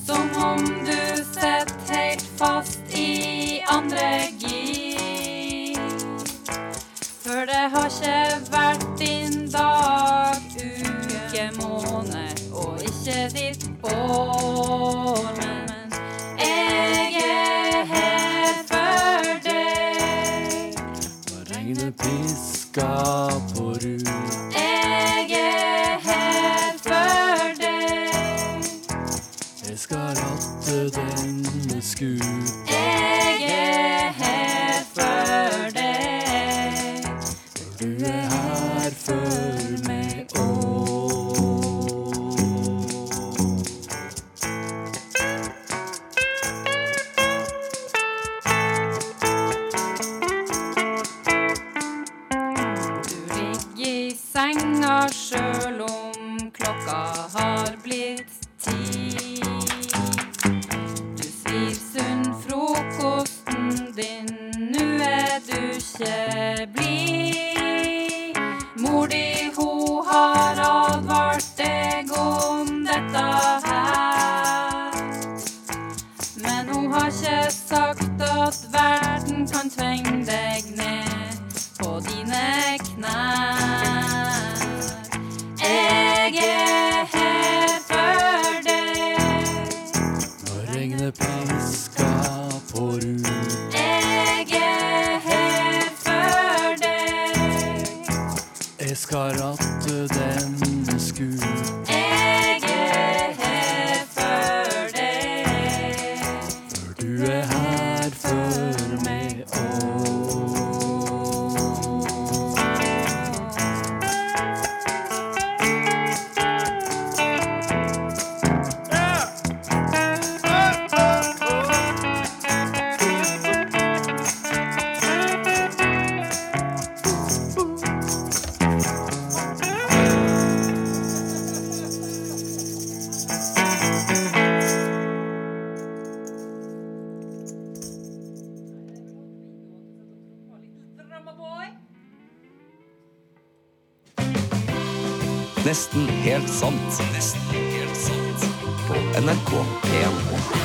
Speaker 3: Som om du sitter helt fast i andre gir. For det har ikke vært din dag, uke, måned og ikke ditt år. Men jeg er her for deg. Når regnet pisker på rud. Jeg er her for deg. Jeg er her for deg. Du er her for meg òg. Du ligger i senga sjøl om klokka har blitt ti. Du svir sunn frokosten din, nu er du ikke blid. Mor di, ho har advart deg om dette her. Men hun har ikke sagt at verden kan tvinge deg ned på dine knær. Jeg er her for deg. Jeg er her for deg. Jeg skal ratte denne skur. Jeg er her for deg.
Speaker 11: Nesten helt sant. Nesten helt sant. På NRK1.